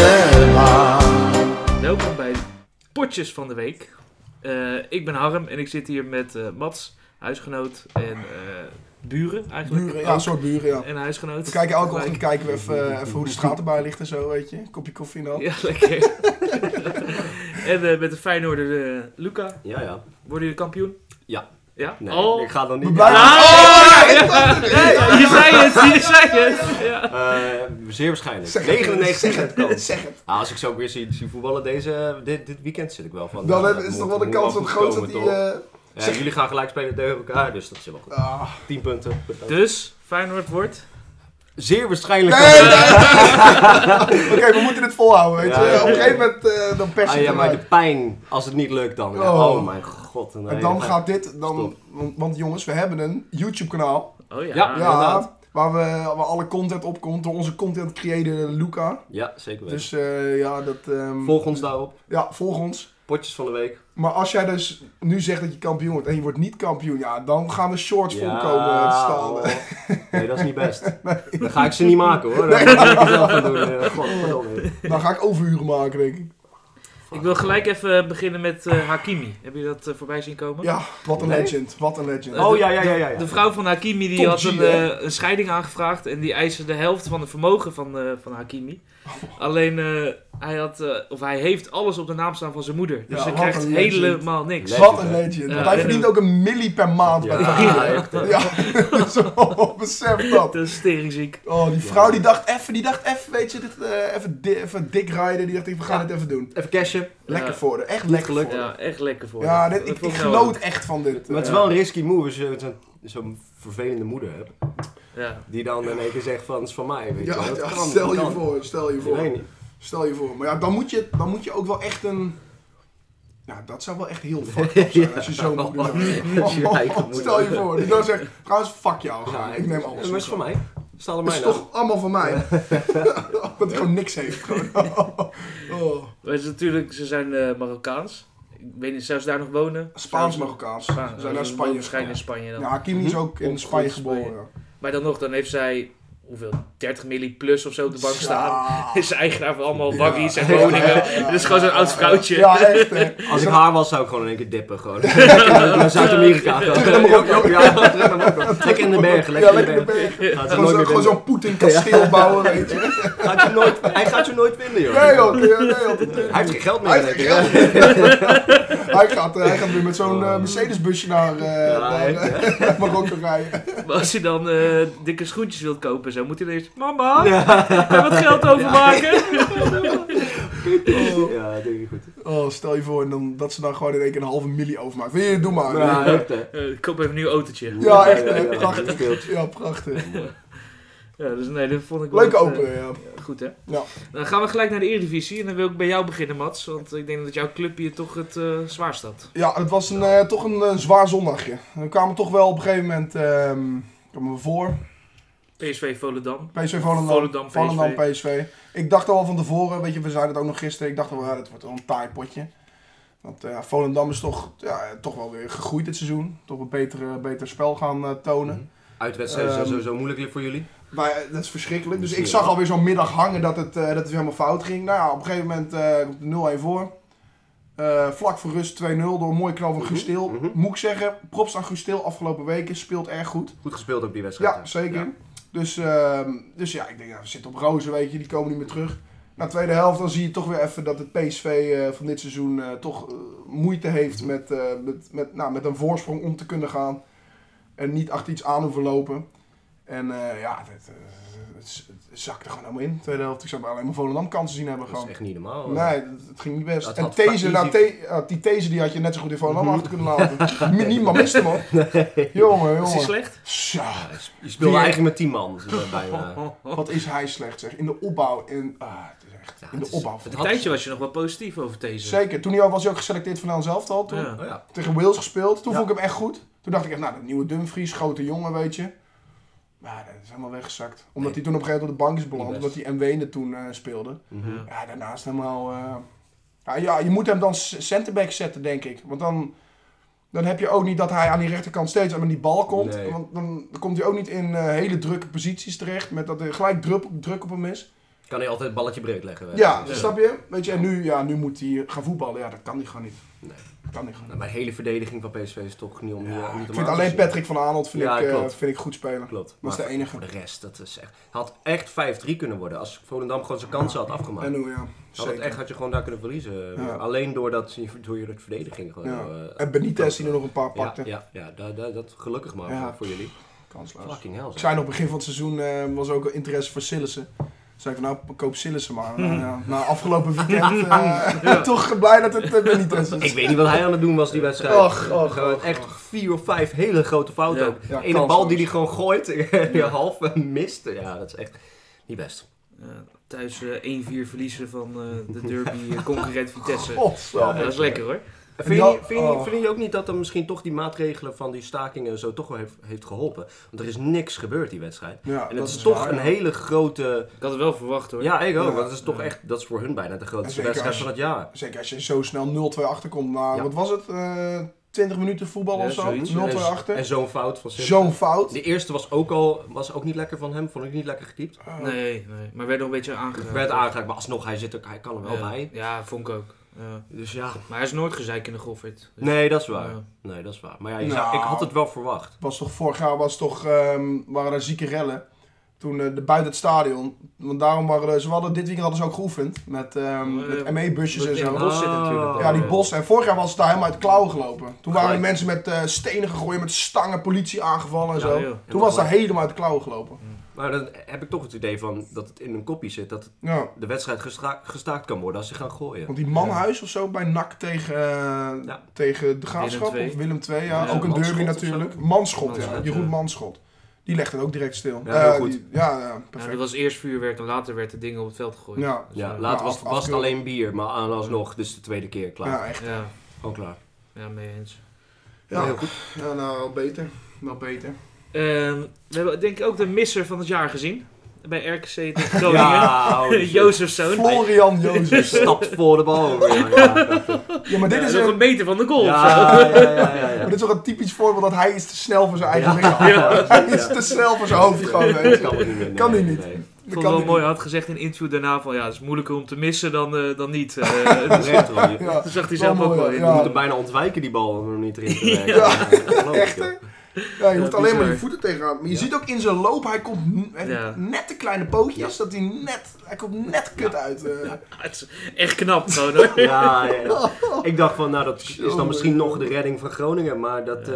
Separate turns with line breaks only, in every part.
masterplan.
Welkom bij Potjes van de Week. Eh, ik ben Harm en ik zit hier met eh, Mats, huisgenoot en eh, buren eigenlijk.
Buren, ja, een soort buren, ja.
En huisgenoot.
We kijken elke
Gelijk.
ochtend kijken we even, eh, even hoe de straat erbij ligt en zo, weet je. Kopje koffie in de hand.
Ja, lekker. en eh, met de Feyenoorder eh, Luca.
Ja, ja.
Worden jullie kampioen?
Ja.
Ja?
Nee,
oh.
ik ga dan
We
niet.
blijven-
Ah,
Oh,
ja, ja. Je zei het, je zei het. Ja.
Eh, zeer waarschijnlijk.
Zeg het.
99 kans.
Zeg het.
Ah, als ik zo weer zie, zie voetballen deze, dit, dit weekend zit ik wel van.
Dan
nou,
is
dat
toch
moet-
wel de
moet
kans
wel
wat
goed
groot dat
komen,
hij...
toch?
eh,
Ja,
zeg-
jullie gaan gelijk spelen tegen elkaar, dus dat is wel goed.
ah.
10 punten.
Dus, Feyenoord wordt...
Zeer waarschijnlijk.
Nee, nee, nee. Oké, we moeten dit volhouden, weet je.
Ja, ja, ja.
Op een gegeven moment eh, dan pers je
Ah, ja,
het
maar de
eruit.
pijn als het niet lukt dan. Ja,
Oh.
Oh, mijn god. nee,
En dan
dat-
gaat dit, dan,
Stop.
want, want jongens, we hebben een YouTube-kanaal.
Oh ja.
Ja.
Ja,
Ah, inderdaad.
waar, we, waar alle content op komt door onze content creator Luca.
Ja, zeker weten.
Dus eh, ja, dat... ehm,
Volg ons daarop.
Ja, volg ons.
Potjes van de week.
Maar als jij dus nu zegt dat je kampioen wordt en je wordt niet kampioen, ja, dan gaan de shorts
Ja,
volkomen eh, staan.
oh. Nee, dat is niet best. Dan ga ik ze niet maken hoor. Dan moet ik het zelf gaan doen. eh, Godverdomme.
Dan ga ik overuren maken, denk ik.
Ik wil gelijk even beginnen met eh, Hakimi. Heb je dat eh, voorbij zien komen?
Ja, wat een
Nee?
legend. Wat een legend.
Oh ja, ja, ja, ja. ja.
De vrouw van Hakimi die
Top
had
G,
een,
hè?
eh, een scheiding aangevraagd en die eiste de helft van het vermogen van, eh, van Hakimi.
Oh.
Alleen eh, hij, had, eh, of hij heeft alles op de naam staan van zijn moeder. Dus
Ja,
ze
wat
krijgt
een legend.
helemaal niks.
Le-
wat een
legend, hè?
legend.
Ja,
Want hij
en-
verdient ook een milli per maand bij
Ja,
Tagine.
echt, eh. hè.
Ja, dus, oh, besef dat.
Dat is teringziek.
Oh, die vrouw die dacht even, die dacht even, weet je, dit, eh, even, di even dik rijden. Die dacht, ik, we gaan
Ja.
dit even doen.
Even cashen.
Lekker
Ja.
voor haar. Echt lekker
Geluk.
voor haar.
Ja, echt lekker voor
Ja,
haar.
dit,
Dat
ik, ik
vond wel
genoot echt van dit.
Maar het is
eh.
wel een risky move als je zo'n zo'n vervelende moeder hebt.
leuk. Ja.
Die dan in één keer zegt van, het is van mij. Weet je
Ja,
wel. Dat
ja,
kan,
stel
dat
je
kan.
voor, stel je
Ik weet
voor.
niet.
Stel je voor. Maar ja, dan moet je, dan moet je ook wel echt een... Nou, dat zou wel echt heel fucked up zijn als je zo'n moeder hebt.
Als je je eigen moeder
Stel je
hebt.
voor. Die dan zegt, trouwens, fuck jou, ga.
Ja,
Ik neem
Maar
alles.
het is van mij. Staat er
Het
mij
is
nou.
toch allemaal van mij. dat hij gewoon niks heeft. Gewoon. oh.
Maar het is natuurlijk, ze zijn eh, Marokkaans. Ik weet niet, zelfs daar nog wonen.
Spaans-Marokkaans. Ze zijn naar Spanje
Waarschijnlijk
gegaan.
in Spanje dan.
Ja, Hakimi
Mhm.
is ook in
Op
Spanje
goed Spanje.
geboren.
Maar dan nog, dan heeft zij, hoeveel, 30 milli plus of zo op de bank staan.
Ja.
Is ze eigenaar van allemaal
Ja.
waggies en
Ja,
woningen.
ja, ja,
Dat is gewoon zo'n
ja,
oud
ja.
vrouwtje.
Ja, echt. hè.
Als ik haar was, zou ik gewoon in één keer dippen. Gewoon. naar Zuid-Amerika. gaan.
Terug naar Marokko.
Ja, terug naar Marokko. Lekker in de bergen.
Ja,
Lekker in
lekker
de
de
bergen.
berg.
Gaat ze
Gewoon
nooit
zo- Gewoon
meer vinden.
zo'n Poetin-kasteel bouwen, weet je.
Gaat je nooit, hij gaat je nooit vinden, joh.
Nee, joh. Nee, joh.
Hij heeft geen geld meer.
Hij heeft
denk ik.
geen Hij gaat, eh, hij gaat weer met zo'n eh, Mercedes-busje naar, eh,
Oh, Ja,
naar,
hij-
eh, Marokko rijden.
Maar als je dan eh, dikke schoentjes wilt kopen, zo moet je eerst... Mama, kan je wat geld overmaken?
Ja, dat denk ik goed.
Oh, stel je voor en dan, dat ze dan gewoon in één keer een halve milli overmaakt. Wil je, doe maar.
Ja, echt, hè.
Eh, ik koop even een nieuw autootje.
Ja, echt, hè.
Ja, ja, ja.
Prachtig.
Speelt.
Ja, prachtig.
Ja, dus nee, dat vond ik wel
Leuke
echt, eh,
opener, ja.
goed, hè?
Ja.
Dan gaan we gelijk naar de Eredivisie. En dan wil ik bij jou beginnen, Mats. Want ik denk dat jouw club hier toch het eh zwaarst had.
Ja, het was een, eh, toch een eh, zwaar zondagje. We kwamen toch wel op een gegeven moment ehm kwamen we voor.
PSV Volendam.
PSV Volendam,
Volendam, PSV.
Volendam, PSV. Ik dacht al van tevoren, weet je, we zeiden het ook nog gisteren. Ik dacht al, ja, dit wordt wel een taai potje. Want eh, Volendam is toch, ja, toch wel weer gegroeid dit seizoen. Toch een betere, beter spel gaan eh, tonen.
Uitwedstrijd is
Ehm,
sowieso moeilijk voor jullie.
Maar eh, dat is verschrikkelijk. Dus ik
Misschien.
zag alweer zo'n middag hangen dat het, eh, dat het helemaal fout ging. Nou ja, op een gegeven moment eh, komt 0-1 voor. Eh, vlak voor rust 2-0 door een mooie knal van
Mhm,
Gustil.
mhm.
Moet ik zeggen, props aan Gustil afgelopen weken. Speelt erg goed.
Goed gespeeld op die wedstrijd.
Ja, zeker. Dus, ehm, dus ja, ik denk, nou, we zitten op rozen, weet je. Die komen niet meer terug. Na de tweede helft dan zie je toch weer even dat het PSV eh, van dit seizoen eh, toch eh, moeite
Mhm.
heeft met, eh, met, met, nou, met een voorsprong om te kunnen gaan. En niet achter iets aan hoeven lopen. En eh, ja, het, eh, het, het zakte gewoon helemaal in. Tweede helft, ik zou maar alleen maar Volendam kansen zien hebben
Dat is
gewoon.
echt niet normaal.
Nee, het, het ging niet best.
Dat
en
had Mhm.
These, nou,
Faizzi-
The- ja, die These die had je net zo goed in Volendam achter kunnen laten. Mi- Niemand mist hem hoor. Jongen,
Is hij
jongen.
slecht?
Tja.
Ja, je speelde eigenlijk met 10 man. dus, eh, bijna.
Oh, oh.
Wat is hij slecht, zeg. In de opbouw. In, ah, het is echt,
Ja,
in
het
de
is-
opbouw.
het
Een tijdje was je nog wel positief over deze.
Zeker. Toen hij al was hij ook geselecteerd voor Nederland zelf al. Toen
Ja.
Oh ja.
tegen Wales gespeeld. Toen
Ja.
vond ik hem echt goed. Toen dacht ik echt, nou, dat nieuwe Dumfries, grote jongen, weet je. Maar dat is helemaal weggezakt. Omdat
Nee.
hij toen op een gegeven moment op de bank is beland.
Niet
Omdat
best.
hij Mwene toen eh, speelde.
Mhm.
Ja.
Ja, daarnaast helemaal... eh, ja, ja, je moet hem dan s- centerback zetten, denk ik. Want dan, dan heb je ook niet dat hij aan die rechterkant steeds aan die bal komt.
Nee.
Want dan komt hij ook niet in eh, hele drukke posities terecht. Met dat er gelijk drup- druk op hem is.
Kan hij altijd het balletje breed leggen. weet
Ja,
je.
Ja.
snap je? Weet je, en nu, ja, nu moet hij gaan voetballen. Ja, dat kan hij gewoon niet.
Nee.
Kan hij gewoon
Nou, maar de hele verdediging van PSV is toch niet om,
niet.
eh, om
Ja,
te
ik vind
maken,
alleen
zeg.
Patrick van Aanholt vind,
Ja,
ik, eh,
klopt.
vind ik goed spelen.
Klopt.
Dat is de
Maar
enige.
Voor de rest, dat is echt... Had echt 5-3 kunnen worden als Volendam gewoon zijn kansen had afgemaakt.
En hoe, ja.
Had, het
Zeker.
echt, had je gewoon daar kunnen verliezen.
Ja.
Alleen doordat, je- door je de verdediging gewoon...
Ja.
eh,
En Benitez die er nog een paar
Ja,
pakte.
ja, ja dat, dat, dat gelukkig maar
Ja.
voor- voor jullie.
Kansloos.
Fucking hell.
Ik
zeg.
zei nog begin van het seizoen eh, was ook interesse voor Sillissen. Zei ik van nou, koop Sillissen maar. Nou,
Hmm.
ja, na afgelopen weekend eh,
Ja.
toch blij dat het eh, Benitez is.
Ik weet niet wat hij aan het doen was die wedstrijd.
Och, och,
Gewoon
och,
echt vier of vijf hele grote fouten.
Ja.
ook.
Ja,
Ene
kansloos.
bal die hij gewoon gooit, die half mist. Ja, dat is echt niet best.
Eh, thuis eh, 1-4 verliezen van eh, de derby-concurrent Vitesse.
Godsamme.
Ja, dat is lekker hoor.
En
En Vind,
die
je,
al-
vind, je,
oh.
vind je ook niet dat er misschien toch die maatregelen van die stakingen en zo toch wel heeft, heeft geholpen? Want er is niks gebeurd die wedstrijd.
Ja,
En dat is toch
waar,
een
ja.
hele grote...
Ik had het wel verwacht hoor.
Ja, ik ook.
Ja.
Want dat is toch echt, dat is voor hun bijna de grootste
Zeker
wedstrijd
als-
van het jaar.
Zeker als je zo snel 0-2 achterkomt na,
Ja.
wat was het, eh 20 minuten voetbal
Ja,
of zo? 0-2
zoiets.
En
achter.
zo'n fout van Simpson.
Zo'n fout.
De eerste was ook al was ook niet lekker van hem, vond ik niet lekker getiept.
Eh,
Nee, nee, maar werd nog een beetje aangeraakt.
Werd aangeraakt, maar alsnog, hij, zit er, hij kan er wel
Ja.
bij.
Ja, vond ik ook. Ja.
Dus ja,
Maar hij is nooit gezeik in de Goffert. Dus,
nee, dat is waar.
Ja.
Nee, dat is waar. Maar ja, je zou-
Nou.
ik had het wel verwacht.
was toch vorig jaar was toch, ehm, waren er zieke rellen. Toen eh, de, buiten het stadion. Want daarom waren er- ze hadden dit weekend hadden ze ook geoefend. Met, ehm,
Eh,
met ME-busjes en
in
zo.
het bos zit natuurlijk.
Ja, die
Eh,
bos. En vorig jaar was het daar helemaal uit de klauwen gelopen. Toen waren er
Gelijk.
mensen met eh, stenen gegooid, met stangen, politie aangevallen en
Ja,
zo.
joh.
Toen was
gelijk.
dat helemaal uit de klauwen gelopen.
Maar dan heb ik toch het idee van dat het in hun kopje zit. Dat
Ja.
de wedstrijd gestra- gestaakt kan worden als ze gaan gooien.
Want die manhuis of zo bij NAC tegen, eh,
Ja.
tegen de Graafschap
II.
of Willem II, ja.
Ja,
ook een derby
Manschot of
natuurlijk. Manschot, ja.
Manschot,
Jeroen
ja.
Manschot. Die legt het ook direct stil.
Ja, heel
Eh,
goed.
die- ja, ja,
Ja, dat
perfect.
was eerst vuurwerk en later werd de dingen op het veld gegooid.
Ja.
Dus,
Ja,
eh,
later
Ja,
was,
af-
was het
afkeuren.
alleen bier, maar aan alsnog, dus de tweede keer klaar.
Ja, echt.
ja,
Ook klaar.
ja, mee eens.
Ja,
Heel goed.
Ja, nou, wel beter. Wel beter.
Ehm, we hebben denk ik ook de misser van het jaar gezien. Bij RKC tegen Groningen.
Ja, holy shit.
Jozefzoon.
Florian Jozef.
stapt voor de bal. Ja, ja,
Ja, maar dit
Ja,
is
nog
een...
een meter van de goal.
ja, ja, ja, ja,
Maar
ja.
dit is toch een typisch voorbeeld dat hij is te snel voor zijn eigen lichaam.
Ja.
Hij is te snel voor zijn hoofd gewoon. weet je.
Dat kan niet meer.
Kan
nee,
die niet.
nee.
Ik
Dat
vond het
kan
wel
niet.
mooi. Hij had gezegd in een interview daarna van ja, het is moeilijker om te missen dan, eh, dan niet. Eh,
Dat is echt wel niet.
Ja.
dat zag hij
Wel
zelf ook
mooi,
wel
ja.
in.
Je moet hem bijna ontwijken, die bal, om hem niet erin te werken.
Ja.
Ja,
Echt, hè? Ja, je hoeft
Ja,
alleen maar
bizar.
je voeten tegenaan. Maar je
Ja.
ziet ook in zijn loop, hij komt n- hij heeft
Ja.
net de kleine pootjes, dat hij net, hij komt net kut uit. eh.
Ah, het is echt knap gewoon hoor.
Ja, ja, ja. Ik dacht van, nou, dat is dan
Jongen.
misschien nog de redding van Groningen, maar dat eh,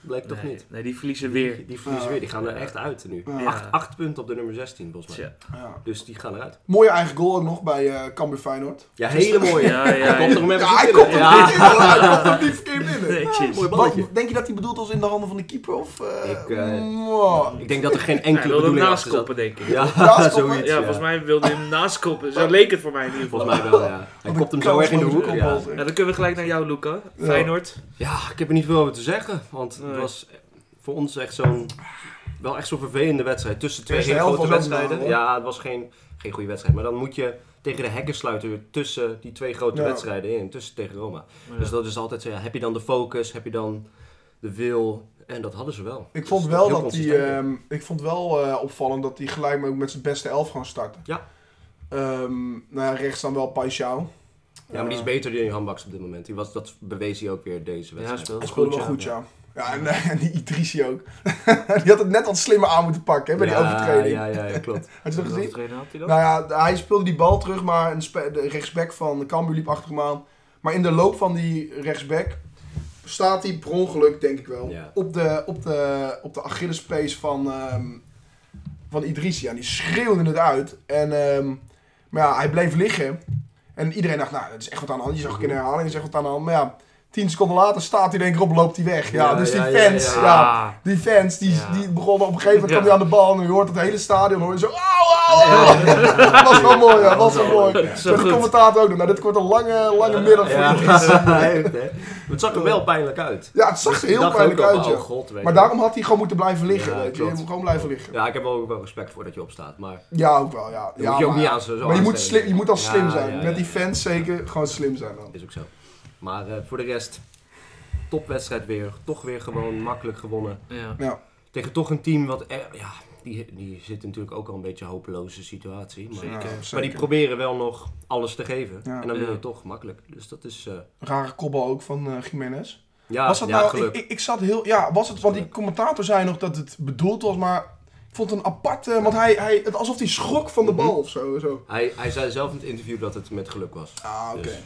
bleek toch
nee,
niet.
Nee, die verliezen weer.
Die verliezen weer, die gaan er echt uit nu.
Ja.
Acht, acht punten op de nummer 16, volgens mij.
Tja.
Ja.
Dus die gaan eruit.
Mooie eigen goal ook nog bij eh Cambuur Feyenoord.
Ja, hele mooie.
Ja, ja,
Hij komt er hem even
Ja, hij
in.
komt er
Ja.
niet in, hoor. hij komt er niet verkeerd in. hè.
Nee,
Ja, mooi
cheers.
Wat,
balletje.
denk je dat hij bedoelt als in de handen van de keeper? Of, eh,
Ik, eh,
mwah.
Ik denk dat er geen
Hij
enkele
wilde hem
bedoeling achter zat.
naaskoppen, denk ik.
Ja,
Naaskoppen?
zoiets.
Ja,
Ja,
volgens mij wilde hij hem naaskoppen. Zo leek het voor mij in ieder geval.
Volgens mij wel, ja. Hij
Wat
kopt hem
een
zo weg in de hoek.
kansloze
Ja.
kopbal, zeg.
Ja, dan kunnen we gelijk naar jou, Luca.
Ja.
Feyenoord.
Ja, ik heb er niet veel over te zeggen. Want het
Nee.
was voor ons echt zo'n... Wel echt zo'n vervelende wedstrijd. Tussen twee
Eerste
hele
helft
grote
was ook
wedstrijden.
naar, hoor.
ja, het was geen, geen goede wedstrijd. Maar dan moet je tegen de hekken sluiten tussen die twee grote
Ja.
wedstrijden in. Tussen tegen Roma.
Ja.
Dus dat is altijd zo. Ja, heb je dan de focus? Heb je dan de wil? En dat hadden ze wel.
Ik
Dus
vond wel
heel
dat hij,
consistent.
ehm, ik vond wel eh, opvallend dat hij gelijk met, met zijn beste elf gaan starten.
Ja.
Ehm, nou ja, rechts dan wel Paixão.
ja, maar die is beter dan Johan Baks op dit moment. Die was, dat bewees hij ook weer
Ja,
deze wedstrijd.
speelde
Dat
goed,
speelde
ja.
wel goed, ja. ja. en, eh, en die Idrissi ook. die had het net wat slimmer aan moeten pakken hè, bij die overtreding.
Ja, ja, ja, klopt.
Had je dat gezien?
Trainer had hij dat?
Nou ja, hij speelde die bal terug, maar een spe- de rechtsback van Cambuur liep achter hem aan. Maar in de loop van die rechtsback staat hij per ongeluk, denk ik wel,
Ja.
op de, op de, op de Achillespees van, ehm van Idrissi. En die schreeuwde het uit. En, ehm, maar ja, hij bleef liggen. En iedereen dacht, nou, dat is echt wat aan de hand. Je zag ook in de herhaling, is echt wat aan de hand. Maar ja, tien seconden later staat hij denk ik op, loopt hij weg. Ja,
Ja,
dus die
ja, ja,
fans,
ja.
ja,
Ah.
die fans, die,
Ja.
die begonnen op een gegeven moment, kwam
Ja.
hij aan de bal en je hoort het hele stadion, hoor je zo, auw, auw, auw. Dat was wel mooi, ja, dat was wel mooi.
Zo
Zo de
goed.
commentator ook nog, nou dit wordt een lange, lange middag voor
Ja,
ja.
heeft, hè. Maar Het zag er wel pijnlijk uit.
ja, het zag er
Ik
heel
dacht
pijnlijk
ook al,
uit, ja.
oh god, weet
Maar
je.
daarom had hij gewoon moeten blijven liggen,
Ja,
weet je. Je
klopt.
moet gewoon blijven liggen.
Ja, ik heb er ook wel respect voor dat je opstaat, maar
Ja, ook wel, ja.
dat
ja
moet je ook
maar,
niet aan zo zo
maar je moet,
aanstellen.
slim, je moet al slim
Ja,
zijn.
ja,
Met die
ja, ja.
fans zeker, gewoon slim zijn dan.
Is ook zo. Maar eh, voor de rest, topwedstrijd weer. Toch weer gewoon makkelijk gewonnen.
Ja.
Ja,
Tegen toch een team wat, eh, ja, die, die zitten natuurlijk ook al een beetje een hopeloze situatie. Maar,
Zeker.
maar die proberen wel nog alles te geven.
Ja.
En dan wil
Ja.
je toch makkelijk. Dus dat is... eh,
Rare kobbel ook van eh Jiménez.
ja,
was dat
ja,
nou, ik,
geluk.
ik, ik zat heel, ja, was het, want die commentator zei nog dat het bedoeld was, maar ik vond het een aparte, want hij, hij, het, alsof hij schrok van
Mhm.
de bal of zo. zo.
Hij, hij zei zelf in het interview dat het met geluk was.
Ah, oké.
Dus-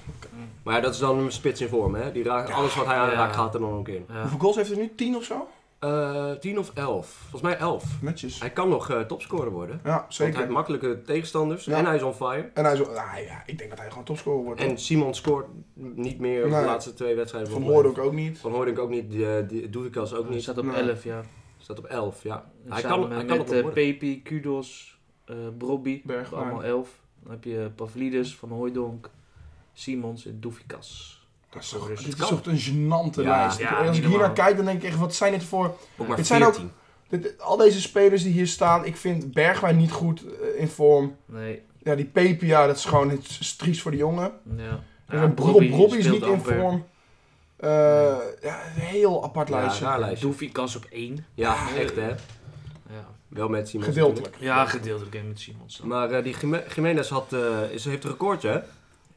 Maar ja, dat is dan een spits in vorm, hè? Die raakt, alles wat hij aan
Ja.
raakt gaat er dan ook in.
Ja.
Hoeveel goals heeft hij nu? 10 of zo?
Eh 10 of 11? Volgens mij 11.
Netjes.
Hij kan nog eh, topscorer worden.
Ja,
Want hij
zeker.
heeft makkelijke tegenstanders
Ja.
en hij is on fire.
En hij zo, nou ja, ik denk dat hij gewoon topscorer wordt.
En Simon scoort niet meer
Nee.
de laatste twee wedstrijden.
van
Hoorn.
Hoordok ook niet.
Van Hoordink ook niet, eh, die- Doevikas ook
Hij
niet.
staat op
Nee.
11, ja.
Staat op 11, ja.
Hij
Hij
kan,
kan, hij kan
met
het
eh,
nog worden.
Pepi, Kudos, eh Brobby.
Bergwijn.
Allemaal 11. Dan heb je eh, Pavlidis, Van Hooijdonk, Simons en Doefikas.
Dat is
toch
toch, dit is
kan.
toch een gênante
Ja,
lijst.
ja,
Ik- als
niet
ik hier naar
normaal.
kijk, dan denk ik echt, wat zijn dit voor...
Ook maar
Het zijn ook-
14.
dit- dit- al deze spelers die hier staan, ik vind Bergwijn niet goed eh, in vorm.
Nee,
Ja, die Pepia, dat is gewoon het is triest voor de jongen.
ja.
Dus
Ja,
een Rob
Brobby
Robbie is
speelt
niet in
amper.
vorm. Eh, ja, een heel apart
Ja, nou,
lijstje.
raar lijstje.
Doefikas op 1.
Ja, echt hè.
Ja,
Wel met Simon.
Gedeeltelijk.
ja gedeeltelijk en met Simons dan.
Maar eh, die Jime- Jiménez had, eh, is, heeft een recordje, hè?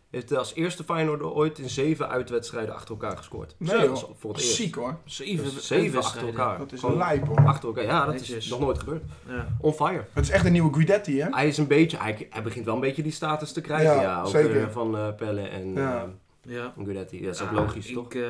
Heeft eh, als eerste Feyenoord ooit in zeven uitwedstrijden achter elkaar gescoord.
Nee,
Dat is
joh.
Voor
Dat
het
is
eerst.
ziek hoor.
Zeven,
Dus zeven achter
wedstrijden.
elkaar.
Dat is een
Gewoon
lijp hoor.
Achter elkaar, ja, dat
Netjes.
is nog nooit gebeurd.
Ja.
On fire.
Het is echt een nieuwe Guidetti hè?
Hij is een beetje, hij, hij begint wel een beetje die status te krijgen,
Ja,
ja. ook,
zeker.
eh, van eh, Pelle en
Ja.
eh,
ja.
Guidetti. Dat is ook
Ja,
logisch,
ik,
toch?
eh,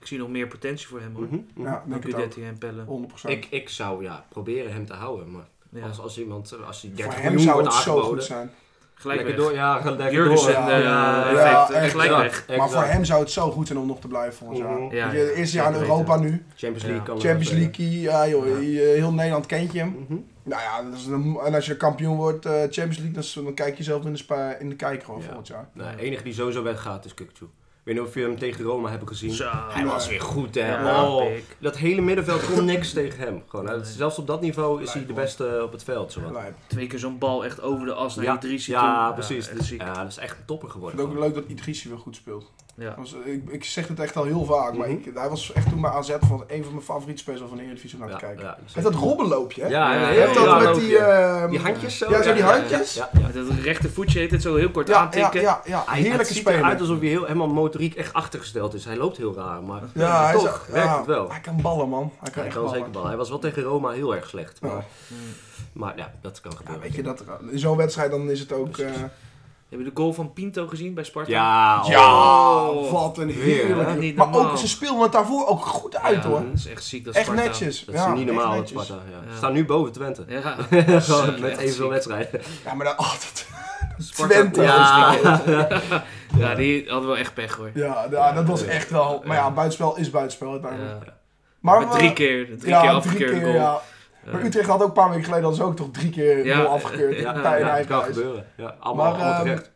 ik zie nog meer potentie voor hem hoor.
Mhm.
Ja,
Dan
denk ik het
Guidetti en Pelle.
ook. 100%.
Ik, ik zou ja, proberen hem te houden, maar
Ja.
als, als iemand, eh, als hij
voor
30
hem
miljoen
zou
wordt
het zo goed
aangeboden,
zijn.
Gelijk
lekker
weg.
door, ja, ga lekker
Jurgensen,
door.
eh,
Ja,
effect.
ja,
eh,
echt.
gelijk
Ja,
weg.
exact.
Maar voor hem zou het zo goed zijn om nog te blijven volgens
Mhm.
jaar.
Ja,
Weet
ja,
je, het eerste jaar in
zeker
Europa nu.
Champions League
Ja.
kan
Champions
wel spelen.
League, ja, joh,
Ja.
hier, eh, heel Nederland kent je hem.
Mhm.
Nou ja, dat is een- en als je kampioen wordt eh, Champions League, dan, is- dan kijk je zelf in de, spa, in de kijker gewoon
Ja.
volgend jaar.
Nou, de enige die sowieso weggaat is Kukcu. Ik weet niet of je hem tegen Roma hebt gezien.
Zo.
Hij was weer goed, hè.
Ja,
Oh,
pik.
dat hele middenveld kon niks tegen hem. Gewoon, hij-
Nee.
Zelfs op dat niveau is hij
Lijkt
de
wel.
beste eh, op het veld. Zowat.
Lijp. Ik
Twee keer zo'n bal echt over de as naar
Ja,
Idrissi toe.
ja, precies.
echt
Dus-
ziek.
ja, dat is echt een topper
vind
geworden.
het ook
gewoon.
leuk dat Idrissi weer goed speelt.
Ja.
Was, eh, ik, ik zeg het echt al heel vaak, maar
Mhm.
ik, hij was echt toen bij AZ van een van mijn favoriete spelers van de Eredivisie om naar te
Ja,
kijken.
ja,
Met dat robbenloopje, hè?
Ja,
Ja,
ja,
Hij
ja,
heeft dat
ja,
met
loopje.
die... ehm,
Die handjes zo.
Ja, zo die
ja, ja,
handjes. Ja,
Ja, ja.
Met dat rechtervoetje heet het zo heel kort
ja, ja,
aantikken.
ja, ja.
Hij, het
heerlijke
ziet eruit
speler.
alsof hij heel, helemaal motoriek echt achtergesteld is. Hij loopt heel raar, maar
Ja, hij is-
toch
ja,
werkt het wel.
Hij kan ballen, man. Hij kan
Hij
echt
kan
ballen.
zeker ballen. Hij was wel tegen Roma heel erg slecht. Maar
Ja.
ja,
Mm.
maar, ja Dus- dat kan
Ja,
gebeuren.
weet je, dat, in zo'n wedstrijd dan is het ook... eh,
Heb je de goal van Pinto gezien bij Sparta?
Ja,
ja,
Oh.
wat een
Weer,
heerlijke...
hè?
Niet
maar ook,
normaal.
ze speelden het daarvoor ook goed uit,
Ja,
hoor.
Dat is echt ziek, dat
Echt
Sparta.
netjes.
Dat is
ja,
niet
echt
normaal, dat
netjes.
Sparta. Ja.
Ja.
Ze staan nu boven Twente.
Ja,
Gewoon
Echt
met evenveel
ziek.
wedstrijden.
Ja, maar dan altijd...
Sparta-
Twente.
Ja.
Ja.
Ja, die hadden wel echt pech hoor.
Ja, ja, dat was echt wel... Maar ja, buitenspel is buitenspel uiteindelijk.
Ja.
Maar,
Met drie
eh,
keer, drie
ja,
keer
drie
afgekeurde
keer,
goal.
ja.
Ja.
Maar Utrecht had ook een paar weken geleden dan ze ook toch drie keer
Ja,
nul afgekeurd.
Ja,
Ja,
ja,
ja,
ja,
dat kan gebeuren. Ja, allemaal,
Maar,
allemaal
ehm,
terecht.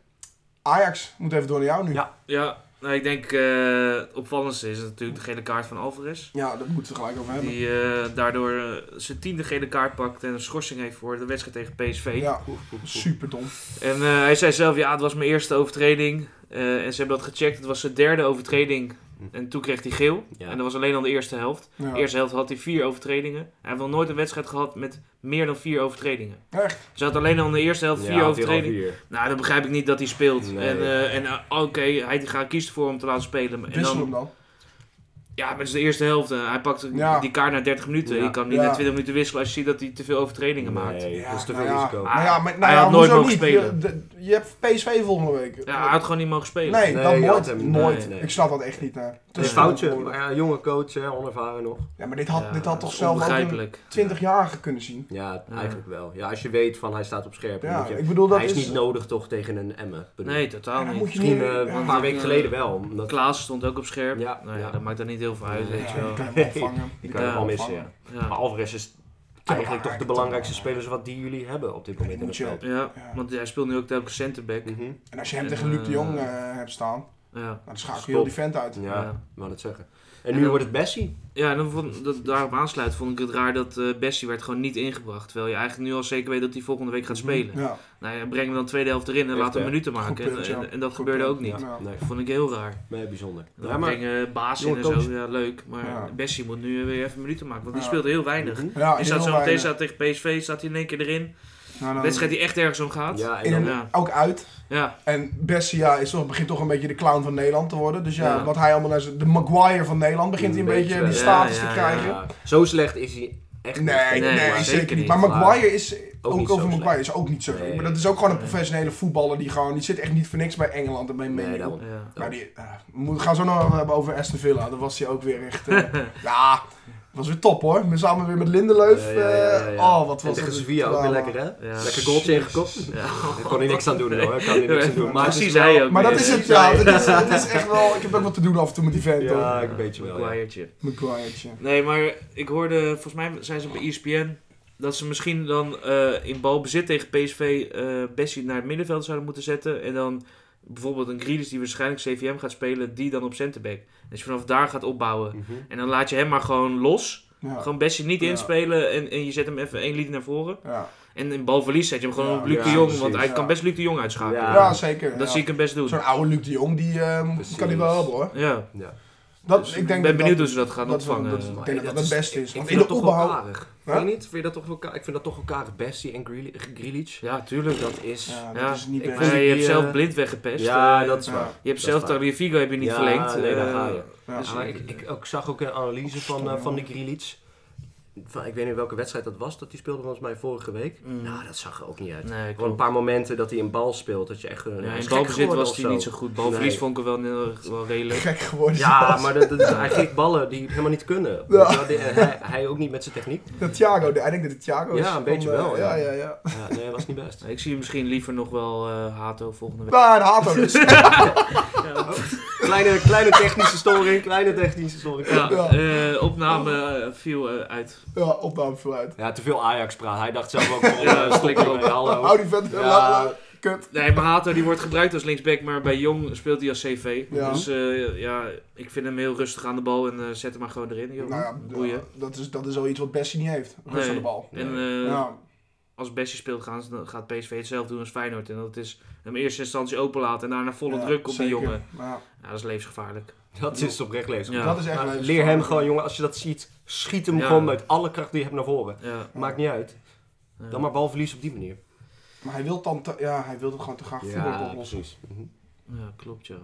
Ajax moet even door naar jou nu.
Ja.
Ja, nou, ik denk eh, het opvallendste is natuurlijk de gele kaart van Alvarez.
Ja, daar moeten we het gelijk over hebben.
Die eh, daardoor eh, zijn tiende gele kaart pakt en een schorsing heeft voor de wedstrijd tegen PSV.
Ja,
Oef, oef, oef.
super dom.
En eh, hij zei zelf, ja, het was mijn eerste overtreding. Eh, en ze hebben dat gecheckt, het was zijn derde overtreding. En toen kreeg hij geel.
Ja.
En dat was alleen al de eerste helft.
Ja.
De eerste helft had hij vier overtredingen. Hij heeft nog nooit een wedstrijd gehad met meer dan vier overtredingen.
Echt?
Ze had alleen al in de eerste helft vier
Ja,
overtredingen.
vier.
Nou, dan begrijp ik niet dat hij speelt.
Nee.
En, eh, en eh, oké, hij gaat kiezen voor om te laten spelen. En
Wissel
dan,
hem dan.
ja, maar het is de eerste helft. eh, Hij pakt
Ja.
die kaart na 30 minuten.
Ja.
Je kan niet
Ja.
na 20 minuten wisselen als je ziet dat hij te veel overtredingen maakt.
Nee, dat is te veel
nou ja.
risico.
Nou ja, maar, nou
Hij
ja,
had nooit
hoezo
mogen
niet?
spelen.
Je, de- je hebt PSV volgende week.
Ja, hij had gewoon niet mogen spelen.
nee,
Nee,
dat
je
nooit.
had hem-
nooit.
nee, nee.
Ik dus- snap dat echt niet. Hè.
Het is een foutje. Maar ja, jonge coach, hè, onervaren nog.
Ja, maar dit had,
Ja,
dit had
dat
toch
is
zelf ook een
onbegrijpelijk.
20-jarige kunnen zien.
Ja,
Ja.
eigenlijk wel. Ja, als je weet van hij staat op scherp. dan
Ja,
moet je-
ik bedoel, dat
hij is,
is...
niet nodig toch tegen een Emmen. Ik bedoel,
Nee, totaal
Ja, dan moet
niet.
je
Misschien
niet-
eh,
ja.
een paar weken geleden wel. Omdat
Klaas stond ook op scherp.
Ja,
nou ja,
ja.
dat maakt dan niet heel veel uit,
Nee.
weet je
Ja, die
wel.
kan je wel vangen.
die kan je
Ja.
wel missen, ja.
Ja.
Maar Alvarez is
Ah,
eigenlijk toch de belangrijkste speler wat die jullie hebben op dit moment in
Moet
het
je
veld.
Ja,
Ja.
want hij speelt nu ook telkens centerback.
Mhm.
En als je hem
En,
tegen Luc de
eh,
Jong eh, hebt staan...
Ja,
Nou, dan schakel je
Stop.
heel die vent uit.
Ja,
Ja.
ik wou het zeggen. En
En
nu
dan-
wordt het Bessie.
ja en dan vond, dat, daarop aansluit vond ik het raar dat eh Bessie werd gewoon niet ingebracht. Terwijl je eigenlijk nu al zeker weet dat hij volgende week gaat
Mhm.
spelen.
Ja,
Nou ja, breng hem dan tweede helft erin en
Echt,
laat hem
hè?
minuten maken.
eh, Goed
En-
punt,
en,
ja.
en dat
Goed
gebeurde
punt,
ook niet.
ja.
Nee,
Dat vond ik heel raar.
maar bijzonder.
Dan
Ja, maar-
brengen Baas in
jonge
en zo,
coach.
ja leuk. Maar
Ja.
Bessie moet nu weer even minuten maken, want die
Ja.
speelde heel weinig.
Mhm.
ja
Hij
en
staat
heel
zo meteen
weinig.
staat tegen PSV, staat hij in één keer erin.
Nou, nou,
wedstrijd die echt ergens om gaat. Ja,
Ja, en dan,
In
ja.
Ook uit.
ja.
En Bessie ja, is toch, begint toch een beetje de clown van Nederland te worden. Dus ja,
Ja.
wat hij allemaal naar zijn- De Maguire van Nederland begint hij een
Een
beetje
beetje,
die
ja,
status
ja,
te
ja,
krijgen.
ja, zo slecht is hij echt niet.
Nee, nee,
nee,
maar-
zeker niet. Maar
Maar-
Maguire is, ook,
niet zo
over
slecht.
Maguire is ook niet zo
Nee.
Maar dat is ook gewoon een
Nee.
professionele voetballer die gewoon, die zit echt niet voor niks bij Engeland en bij
Nee,
Man U.
daarom.
ja.
Maar die, eh, we gaan zo nog wel hebben over Aston Villa. Dan was hij ook weer echt, eh, ja, was weer top hoor. We samen weer met Lindelöf.
Ja, ja, ja,
eh,
ja, ja.
Oh, wat
En
was
tegen
het
Sevilla ook weer
drama.
lekker, hè?
Ja.
Lekker goaltje ingekopt. Daar kon hij niks aan doen, hoor. Daar kan hij niks aan doen. Maar het is
Precies,
wel-
hij ook.
Maar dat
weer.
is het,
Precies
ja.
hij.
Het is, het is echt wel, ik heb ook wat te doen af en toe met die vent
Ja,
hoor.
ik weet je wel. ja.
Maguiretje.
Maguire'tje.
Nee, maar ik hoorde, volgens mij zijn ze E bij ESPN, dat ze misschien dan eh, in balbezit tegen PSV eh Bessie naar het middenveld zouden moeten zetten. En dan bijvoorbeeld een Grealish die waarschijnlijk CVM gaat spelen, die dan op centerback. Dus je vanaf daar gaat opbouwen.
Mhm.
En dan laat je hem maar gewoon los.
Ja.
Gewoon Bessie niet
Ja.
inspelen en, en je zet hem even één lied naar voren.
Ja.
En in balverlies zet je hem gewoon
Ja,
op Luc
ja,
de Jong,
precies,
want hij
ja.
kan best Luc de Jong uitschakelen.
Ja.
ja, zeker.
Dat
ja.
zie ik hem best doen.
Zo'n oude Luc de Jong, die eh,
Precies.
kan hij wel hebben hoor.
Ja,
Ja.
Dat,
Dus
ik denk
ben
dat
benieuwd
dat-
hoe ze dat gaan
dat-
opvangen.
dat- dat- Ik denk dat dat
is-
het beste is,
Ik
want
vind
in
dat
de
toch wel
opbouw-
karig. Vind
Hè?
je niet? Vind je dat toch wel karig? Ik vind dat toch wel karig. Bessie en Greali- Grealish.
ja, tuurlijk.
Dat is...
Ja,
Ja,
dat is niet
ik
best.
vind-
Nee, je hebt
Die, eh,
zelf blind weggepest.
Ja,
Eh,
dat is
ja.
waar.
Je hebt
Dat
zelf
is waar.
Tagliafico heb je niet
Ja,
verlengd.
nee, daar
eh,
ga je.
Ja.
Ja, maar Ah, ik, ik, ik zag ook een analyse van, eh, van die Grealish. Van, ik weet niet welke wedstrijd dat was. Dat die speelde volgens mij vorige week.
Mm.
Nou, dat zag er ook niet uit.
Nee,
Gewoon een
klopt.
paar momenten dat hij een bal speelt. Dat je echt... eh, een
Ja, in balbezit was hij niet zo goed. Balverlies
Nee.
vond ik hem wel, eh, wel redelijk.
gek geworden.
Ja,
zelfs.
maar dat, dat- hij geeft ballen die helemaal niet kunnen. Weet je wel? Die- en hij, hij ook niet met zijn techniek.
Dat Thiago, ik denk dat het Thiago is.
Ja, een beetje
eh,
wel, ja.
ja, ja, ja.
Ja, nee, dat was niet best.
Ik zie hem misschien liever nog wel eh, Hato volgende week.
Maar de haat dus.
Kleine, kleine technische storing, kleine technische storing.
Ja,
Ja,
Ja.
eh, opname eh, viel eh, uit.
ja, opname vooruit.
te veel Ajax praat. Hij dacht zelf ook van,
Ja,
ja, slik
slikker op.
hallo.
Hou die vent.
Ja.
la- la- Kut.
Nee, maar Hato die wordt gebruikt als linksback, maar bij Jong speelt hij als CV.
Ja.
Dus eh, ja, ik vind hem heel rustig aan de bal en eh, zet hem maar gewoon erin. Joh.
Nou ja,
Boeien.
dat is, dat is al iets wat Bessie niet heeft. Rust
Nee.
aan de bal.
En eh,
Ja,
als Bessie speelt, gaan ze- dan gaat PSV hetzelfde doen als Feyenoord. En dat is hem in eerste instantie open laten en daarna volle
ja,
druk op
zeker.
die jongen.
Ja.
Ja, dat is levensgevaarlijk.
Dat is oprecht lezen.
Ja.
Dat is echt
Maar
leuk.
leer hem gewoon, jongen, als je dat ziet, schiet hem
Ja.
gewoon met alle kracht die je hebt naar voren.
Ja,
Maakt niet uit.
ja.
Dan maar balverlies op die manier.
Maar hij wil dan, te- ja, hij wil dan gewoon te graag voetbal oplossen.
Mhm.
Ja, klopt ja.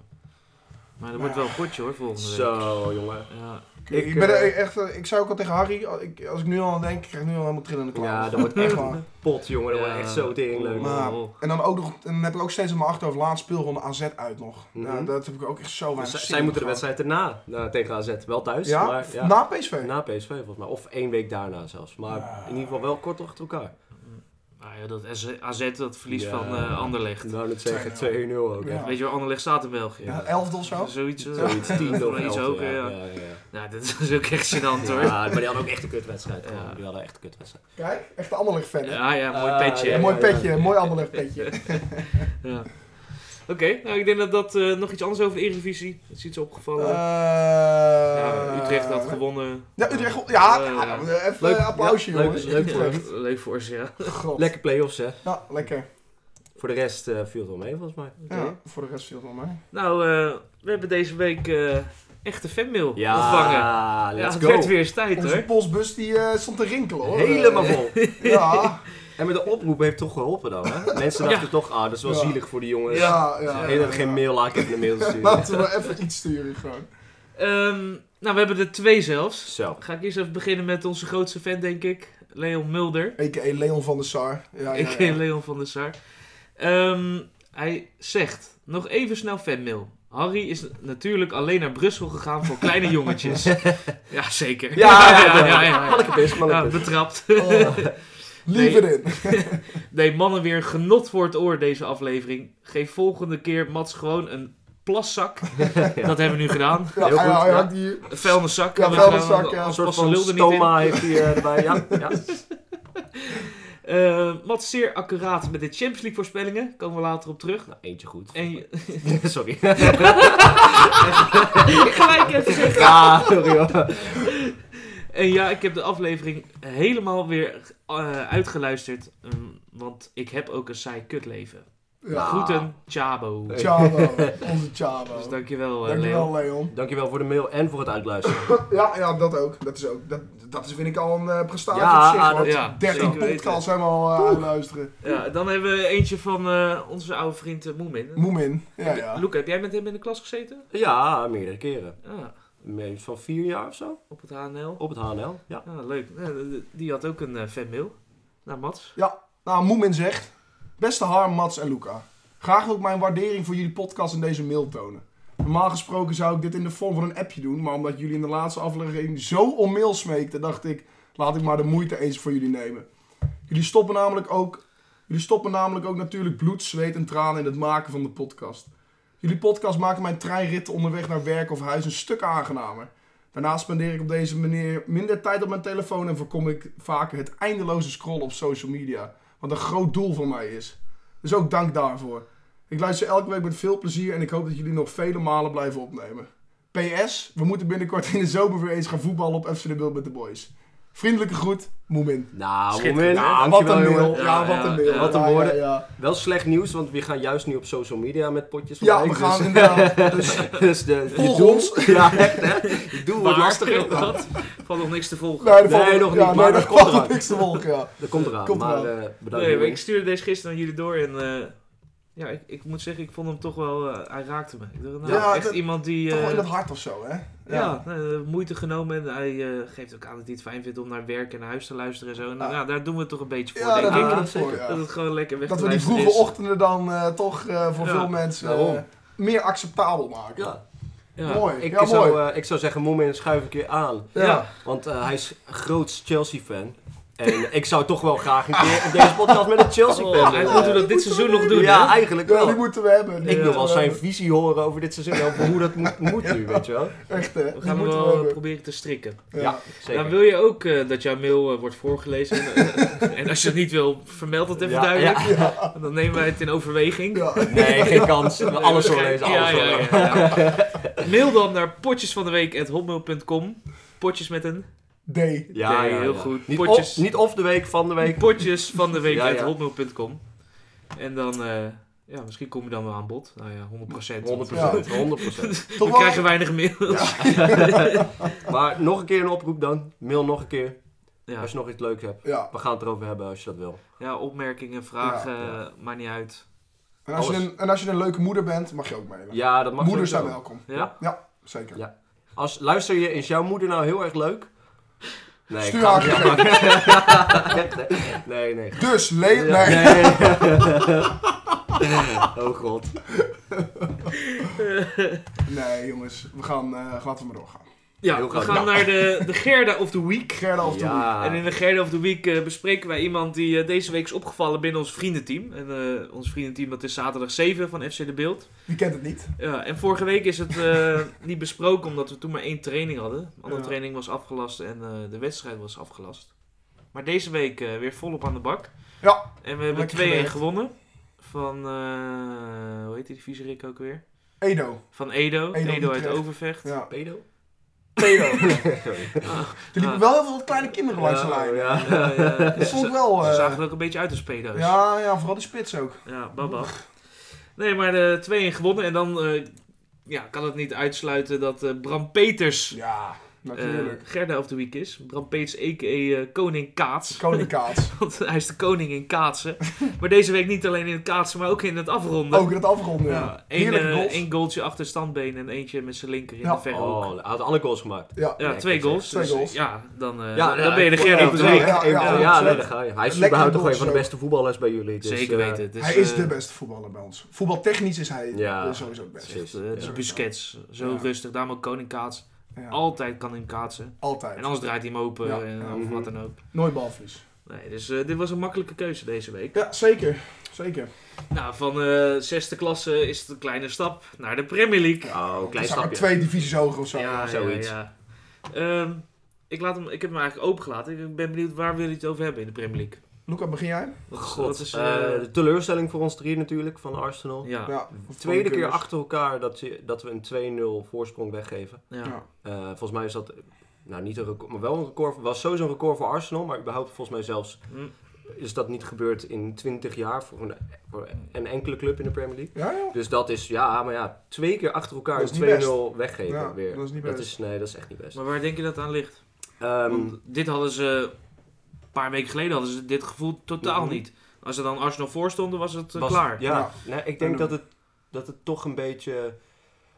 Maar dat
Ja.
wordt wel een potje hoor volgende week.
Zo, jongen.
Ja,
Ik,
Ik,
ben er
eh,
echt, eh, ik zei ook al tegen Harry, als ik, als ik nu al aan denk, ik krijg nu al helemaal trillende klauwen.
Ja, dat wordt
Echt
echt Oh.
waar.
een pot, jongen. Dat wordt echt zo Dus tering leuk.
Maar- En dan ook nog, en dan heb ik ook steeds in mijn achterhoofd laatst speelronde AZ uit nog.
Mhm.
Ja, dat heb ik ook echt zo
Dus
weinig
zij-
zin
zij
in
moeten de
gehad.
wedstrijd erna eh, tegen AZ. Wel thuis,
Ja, Nou.
maar ja,
na PSV.
na PSV volgens mij. Of één week daarna zelfs. Maar
Ah.
in ieder geval wel kort achter elkaar.
Nou ja, dat AZ AZ dat verlies
Ja.
van eh, Anderlecht.
Nou, dat zeggen
2-0.
2-0 ook. hè.
Ja.
Weet je waar Anderlecht staat in België?
Ja, elfde of zo.
Zoiets. eh,
Zoiets, 10 of
nog iets
11,
hoger, ja.
ja, ja.
Nou, dat is ook echt gênant hoor.
Ja, maar die hadden ook echt een kutwedstrijd. gewoon.
Ja.
Die hadden echt een kutwedstrijd.
Kijk, echt een Anderlecht fan. hè?
Ja, ja, mooi
Ah,
petje.
ja,
hè?
mooi petje, mooi Anderlecht petje.
Ja. Oké, nou ik denk dat dat eh, nog iets anders over de Eredivisie. Dat is iets opgevallen.
Eh,
ja, Utrecht had gewonnen.
Eh, Ja, Utrecht. Ja,
Eh,
ja,
ja.
even
Leuk,
een applausje,
ja, leuk,
jongens.
leuk voor
Utrecht.
Leuk voor ze, ja.
God.
Lekker play-offs, hè.
Ja, lekker.
Voor de rest eh, viel het wel mee, volgens mij.
Oké.
Ja, voor de rest viel het wel mee.
Nou, eh, we hebben deze week eh echte fanmail
Ja,
ontvangen.
let's
ja, het
go.
werd weer eens tijd
Onze
hoor.
postbus die eh, stond te rinkelen, hoor.
Helemaal vol.
Eh, ja,
En met de oproep heeft toch geholpen dan, hè? Mensen dachten toch, ah, dat is wel
Ja.
zielig voor die jongens.
ja, ja.
Ze
ja,
hebben
ja.
geen mail, laat ik even een mail sturen.
Laten we even iets sturen, gewoon.
Ehm, nou, we hebben er twee zelfs.
Zo.
Ga ik eerst even beginnen met onze grootste fan, denk ik. Leon Mulder.
A.k.a. eh, Leon van der Sar. Ja,
Ik
ja,
ken
ja.
Leon van der Sar. Ehm, hij zegt, nog even snel fanmail. Harry is natuurlijk alleen naar Brussel gegaan voor kleine jongetjes. ja, zeker.
Ja, ja, ja. dus.
ja, ja.
Mannekebis,
Ja,
mannekebis.
betrapt.
Oh, leave it in.
Nee, mannen, weer genot voor het oor deze aflevering. Geef volgende keer Mats gewoon een plaszak.
Ja.
Dat hebben we nu gedaan.
Ja,
Heel
hij-
goed,
hij
ja.
had die-
Een vuilniszak.
Ja,
hebben we gedaan,
vuilniszak, ja.
Een
Anders
soort
past de
van
lul er niet in.
stoma heeft hij eh, erbij. Ja, ja.
Eh, wat zeer accuraat met de Champions League voorspellingen. Komen we later op terug.
Nou, eentje goed.
En je-
Sorry.
gelijk even zeggen.
ja, sorry hoor.
En ja, ik heb de aflevering helemaal weer eh, uitgeluisterd. mm, want ik heb ook een saai kutleven.
Ja.
Groeten, Chabo.
Hey.
Chavo, onze Chavo.
Dus dankjewel, eh
Dankjewel,
Leon.
Leon.
Dankjewel voor de mail en voor het uitluisteren.
Ja, ja, dat ook. Dat, is ook. dat, dat is, vind ik al een eh, prestatie
Ja,
op zich.
ah,
want
dat- ja,
13
zeker weten.
podcasts helemaal eh, aanluisteren.
Ja, dan hebben we eentje van eh, onze oude vriend eh, Moemin.
Moemin. Ja, ja.
Luca, heb jij met hem in de klas gezeten?
Ja, meerdere keren.
Ah,
Meer- Van vier jaar of zo?
op het HNL.
Op het HNL, ja.
Ah, leuk. Ja, d- d- die had ook een eh, fanmail. Naar Mats.
Nou, Moemin zegt... Beste Harm, Mats en Luca. Graag wil ik mijn waardering voor jullie podcast in deze mail tonen. Normaal gesproken zou ik dit in de vorm van een appje doen, maar omdat jullie in de laatste aflevering zo om mail smeekten, dacht ik, laat ik maar de moeite eens voor jullie nemen. Jullie stoppen namelijk ook, jullie stoppen namelijk ook natuurlijk bloed, zweet en tranen in het maken van de podcast. Jullie podcast maken mijn treinritten onderweg naar werk of huis een stuk aangenamer. Daarnaast spendeer ik op deze manier minder tijd op mijn telefoon en voorkom ik vaker het eindeloze scrollen op social media, wat een groot doel van mij is. Dus ook dank daarvoor. Ik luister elke week met veel plezier en ik hoop dat jullie nog vele malen blijven opnemen. PS, we moeten binnenkort in de zomer weer eens gaan voetballen op FC de Wild met de boys. Vriendelijke groet, Moemin.
Nou,
Schitterend.
moment.
Ja, wat
dankjewel,
een mail.
jongen.
Ja,
Ja,
wat
ja,
een mail.
ja,
wat een
Ja, ja,
woorden.
Ja,
Wel slecht nieuws, want we gaan juist nu op social media met potjes. van
Ja,
like,
we gaan
dus-
inderdaad. Dus
Dus de, je
Volg
doel-
ons.
Ja, echt hè. Je doel wordt
Waar?
lastiger.
Wat? Valt nog niks te volgen.
Nee, er
Nee,
valt-
nog niet,
ja,
maar
nee,
dat
er
komt
valt
eraan.
niks te volgen, ja.
Dat komt eraan,
Komt
maar
eraan.
eh, bedankt.
Nee, maar
jongen.
ik stuurde deze gisteren aan jullie door en eh, ja, ik, ik moet zeggen, ik vond hem toch wel, eh, hij raakte me. Ik dacht, nou,
Ja,
echt
dat-
iemand die,
Toch wel in
eh,
dat hart of zo, hè?
ja, eh, moeite genomen en hij eh, geeft ook aan dat hij het fijn vindt om naar werk en naar huis te luisteren en zo. En
Ja.
ja, daar doen we het toch een beetje voor,
Ja,
denk ik.
daar doen we
Ah,
het voor,
zeker.
ja.
Dat het gewoon lekker weg
Dat we die vroege ochtenden dan eh, toch eh, voor
Ja,
veel mensen eh,
daarom.
meer acceptabel maken.
Ja,
Mooi,
ik,
ja,
zou,
mooi.
eh, ik zou zeggen, Moemin schuif ik je aan.
Ja.
Ja.
Want eh, hij is groot Chelsea-fan. En ik zou toch wel graag een keer in deze podcast met een Chelsea-fan
Oh,
willen.
hij moet dat dit seizoen nog doen,
Ja,
hè?
eigenlijk
Ja,
wel.
die moeten we hebben. die
Ik wil
moeten
wel
we
zijn
hebben.
visie horen over dit seizoen. Over hoe dat moet, moet nu, weet je wel.
Echt, hè?
We
Die
gaan hem
moeten we
wel eh,
hebben.
proberen te strikken.
Ja,
Dan
zeker.
wil je ook eh, dat jouw mail eh, wordt voorgelezen. en, eh, en als je het niet wil, vermeld het even
Ja,
duidelijk.
ja.
Dan nemen wij het in overweging.
Ja.
Nee, geen kans. We Alles
Nee,
doorlezen,
ja,
alles
ja,
doorlezen.
ja, ja. Mail dan naar potjesvandeweek.hotmail.com Potjes met een
D.
Ja,
Nee,
ja,
heel
ja.
goed.
Niet
Potjes.
of, niet of de week, van de week. Ja, ja.
potjesvandeweek.hotmail.com En dan, eh, ja, misschien kom je dan wel aan bod. Nou ja, 100%.
100%,
Ja.
100%.
Toch
We
wel?
krijgen weinig mail.
Maar nog een keer een oproep dan. Mail nog een keer.
Ja,
Als je nog iets leuks hebt.
Ja.
We gaan het erover hebben als je dat wil.
ja opmerkingen, vragen,
Ja, ja.
eh, maakt niet uit.
En als, je
Alles.
een, en als je een leuke moeder bent, mag je ook mailen.
Ja, dat mag
Moeders zijn
sowieso.
welkom.
Ja?
Zeker.
Ja. Als, luister je, is jouw moeder nou heel erg leuk? Nee,
Stuur
ik ga-
haar
Ja. Nee, nee.
Dus, Leon... Nee.
Nee. Oh god.
Nee, jongens. We gaan... eh laten we maar doorgaan.
Ja,
Heel
we
graag.
gaan naar de, de Gerda of the Week.
Gerda of de Hoek.
Ja.
En in de Gerda of the Week eh, bespreken wij iemand die eh, deze week is opgevallen binnen ons vriendenteam. En eh, ons vriendenteam dat is zaterdag 7 van FC De Beeld.
Wie kent het niet?
Ja, en vorige week is het eh, niet besproken omdat we toen maar één training hadden. De andere
Ja.
training was afgelast en eh, de wedstrijd was afgelast. Maar deze week eh, weer volop aan de bak.
Ja.
En we hebben 2-1
Lekker gewerkt.
gewonnen. Van, eh, hoe heet die viezerik ook weer?
Edo.
Van Edo.
Edo
Edo, uit
Utrecht.
Overvecht.
Ja.
Pedo?
Edo. er
Ah,
liepen wel heel veel kleine kinderen langs de lijn.
Ja, ja.
eh, ja, ja.
Dat
Ze,
stond wel...
ze
eh,
zagen er ook een beetje uit als pedo's.
ja, ja, vooral die spits ook.
Ja, baba. Nee, maar de 2-1 gewonnen. En dan eh, ja, kan het niet uitsluiten dat eh, Bram Peters
Ja,
eh
natuurlijk.
Gerda of the Week is. Bram Peters, a.k.a. eh, Koning Kaats.
Koning Kaats.
Want hij is de koning in kaatsen. maar deze week niet alleen in het kaatsen, maar ook in het afronden.
Ook in het afronden. Ja.
Ja, één,
Heerlijke
eh,
goals.
één goaltje achter standbeen en eentje met zijn linker in
Ja.
de verre hoek.
Oh, hij had alle goals gemaakt.
Ja.
Ja,
Nee,
twee
ik weet
goals.
het. Twee
Dus,
goals.
ja, dan, eh,
Ja,
dan, dan ben je de
ik-
Gerda
ja,
of the
ja,
Week.
ja, ja,
Ja,
absoluut.
nee, daar ga je. Hij is
Lekker
überhaupt toch
goals
een van de
ook.
beste voetballers bij jullie. Dus,
Zeker
eh,
weten. Dus,
hij is
eh,
de beste voetballer bij ons. Voetbal technisch is hij
Ja.
eh, sowieso het beste.
echt, eh, Het is
Ja.
Busquets. Zo
Ja.
rustig. Daarom ook koning kaats.
Ja.
Altijd kan hij kaatsen. En
Altijd.
anders draait hij hem open
Ja.
en,
Ja.
of wat dan ook.
Nooit balverlies.
Nee, dus eh, dit was een makkelijke keuze deze week.
Ja, zeker. Zeker.
Nou, van eh zesde klasse is het een kleine stap naar de Premier League.
Oh,
Het
klein
zijn maar
stapje.
twee divisies hoger of zo.
ja,
zoiets.
Ja, ja. Ehm, ik, laat hem, ik heb hem eigenlijk opengelaten. Ik ben benieuwd waar willen jullie het over hebben in de Premier League.
Luca, begin jij?
Wat,
God,
wat is,
eh,
eh,
de teleurstelling voor ons drie natuurlijk van Arsenal.
ja, ja.
Ja, dus.
De Tweede keer
Voorkeurs.
achter elkaar dat, je- dat we een 2-0 voorsprong weggeven.
Ja.
Eh, volgens mij is dat, eh, nou niet een record, maar wel een record. Was sowieso een record voor Arsenal, maar überhaupt volgens mij zelfs
Hm.
is dat niet gebeurd in 20 jaar voor een, voor een enkele club in de Premier League.
Ja, joh.
Dus dat is, ja, maar ja, twee keer achter elkaar
Dat is
een
niet best.
2-0 weggeven
Ja,
weer.
dat is niet best.
nee, dat is echt niet best.
Maar Mm. waar denk je dat aan ligt?
Ehm,
Want dit hadden ze... Een paar weken geleden hadden ze dit gevoel totaal
Mhm. niet.
niet. Als ze dan Arsenal voorstonden, was het eh,
was-
klaar.
Ja,
Ja.
Nee, ik
En
denk
dan-
dat het, dat het toch een beetje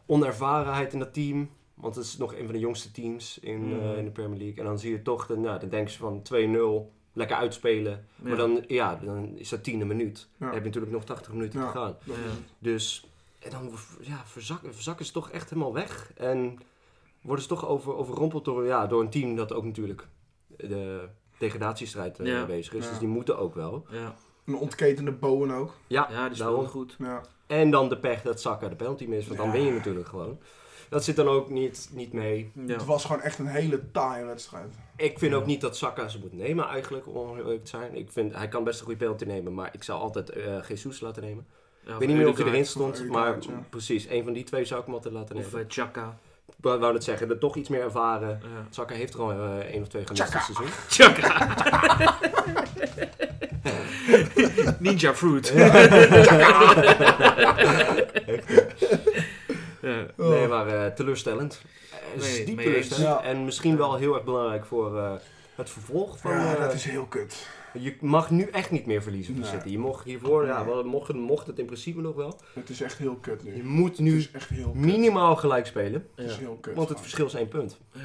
onervarenheid in dat team. Want het is nog een van de jongste teams in,
Hmm.
Mm.
eh, in de Premier League. En dan zie je toch, de, nou, dan denk je van 2-0, lekker uitspelen. Maar dan, ja, dan is dat tiende minuut.
Ja.
Dan heb je natuurlijk nog 80 minuten
Ja.
te gaan.
Dat is het.
Dus, en dan ja, verzakken, verzakken ze toch echt helemaal weg. En worden ze toch over, overrompeld door, ja, door een team dat ook natuurlijk de degradatiestrijd eh,
Ja.
bezig is.
Ja.
Dus die moeten ook wel.
Ja,
Een ontketende Bowen ook.
Ja,
ja die
daarom.
speelde goed.
Ja.
En dan de pech dat Saka de penalty mist, want dan
Ja.
win je natuurlijk gewoon. Dat zit dan ook niet, niet mee.
Ja.
Het was gewoon echt een hele taaie wedstrijd.
Ik vind ook niet dat Saka ze moet nemen eigenlijk, om eerlijk te zijn. Ik vind, hij kan best een goede penalty nemen, maar ik zou altijd eh Jesus laten nemen.
Ja,
ik weet niet meer of hij
Ødegaard
erin
Of
stond,
Ødegaard,
maar
ja.
precies, een van die twee zou ik hem altijd laten nemen.
Of eh, Chaka.
Ik wou wou net zeggen, er toch iets meer ervaren.
Ja.
Saka heeft er al eh, één of twee gemist
Chaka.
dit seizoen.
Chaka! Ninja fruit. ja.
Oh.
Nee, maar eh, teleurstellend. Eh,
Nee,
diep
mee
teleurstellend.
eens. Ja.
En misschien wel heel erg belangrijk voor eh, het vervolg van...
ja,
eh,
dat is heel kut.
Je mag nu echt niet meer verliezen van
Nee.
City. Je mocht hiervoor, ja,
Nee.
wel, mocht, mocht het in principe nog wel.
Het is echt heel kut nu.
Je moet
Het
nu
is echt heel kut.
minimaal gelijk spelen,
Het is heel kut.
want het
man.
verschil is één punt.
Ja.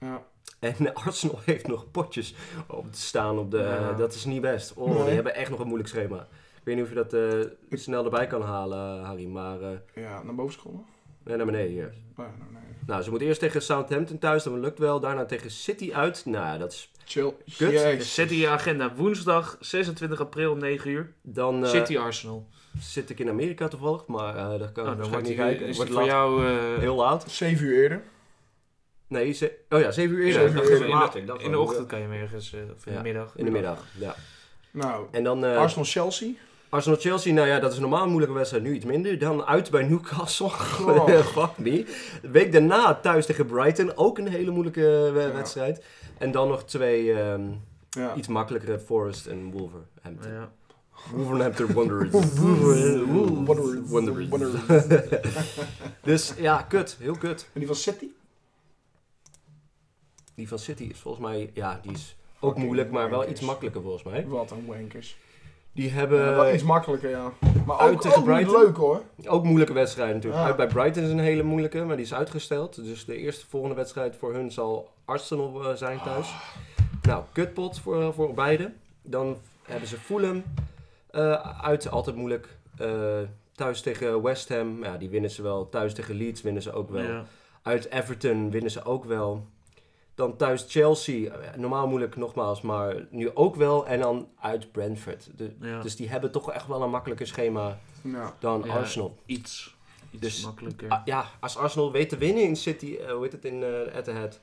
Ja.
En Arsenal heeft nog potjes op te staan op de...
Ja.
dat is niet best. Oh,
Nee.
die hebben echt nog een moeilijk schema. Ik weet niet of je dat eh,
Ik-
snel erbij kan halen, Harry, maar... eh,
ja, naar boven scrollen.
nee, naar beneden hier.
Nee, nee, nee.
Nou, ze moeten eerst tegen Southampton thuis, dat lukt wel. Daarna tegen City uit. Nou, dat is...
Chill.
Kut.
Jezus.
Zet in je agenda woensdag 26 april om 9 uur.
Dan eh,
City Arsenal.
zit ik in Amerika toevallig, maar eh daar kan
Nou,
ik
dan
waarschijnlijk
wordt
niet
hij
kijken.
is
Wordt
die voor
laat.
jou eh,
heel laat.
Zeven uur eerder.
Nee, ze- oh ja, 7 uur
Ja,
eerder.
ik dacht
Zeven
in
uur
de-
later, ik dacht
in de
wel.
ochtend kan je hem ergens, eh, of in
Ja,
de middag.
In de middag, ja.
Nou,
En dan eh,
Arsenal-Chelsea.
Arsenal-Chelsea, nou ja, dat is normaal een moeilijke wedstrijd, nu iets minder. Dan uit bij Newcastle,
Oh.
Goh.
fuck me. De week daarna thuis tegen Brighton, ook een hele moeilijke eh,
Ja.
wedstrijd. En dan nog twee ehm,
Ja.
iets makkelijkere, Forest en Wolverhampton.
Ja.
Wolverhampton Wanderers.
Wanderers.
Wanderers.
Wanderers.
Dus ja, kut, heel kut.
En die van City?
Die van City is volgens mij, ja, die is ook
Fucking
moeilijk, maar wel
wankers.
iets makkelijker volgens mij.
Wat een wankers.
Die
Eh,
Ja, wel
hebben
iets makkelijker, ja. Maar
Eh, uit
ook,
tegen
ook niet
Brighton.
leuk hoor.
Ook moeilijke wedstrijden natuurlijk.
Ah.
Ja.
Uit bij Brighton is een hele moeilijke, maar die is uitgesteld. Dus de eerste volgende wedstrijd voor hun zal Arsenal eh, zijn thuis.
Ah.
Nou, kutpot voor, voor beide. Dan hebben ze Fulham eh, uit, altijd moeilijk. Eh, thuis tegen West Ham, ja, die winnen ze wel. Thuis tegen Leeds winnen ze ook wel.
Ja.
Uit Everton winnen ze ook wel. Dan thuis Chelsea, eh, normaal moeilijk nogmaals, maar nu ook wel. En dan uit Brentford. De-
Ja.
Dus die hebben toch echt wel een makkelijker schema
Ja.
dan
Ja.
Arsenal.
Iets, iets
Dus-
makkelijker.
Ah, ja, als Arsenal weet te winnen in City, eh, hoe heet het in eh Etihad,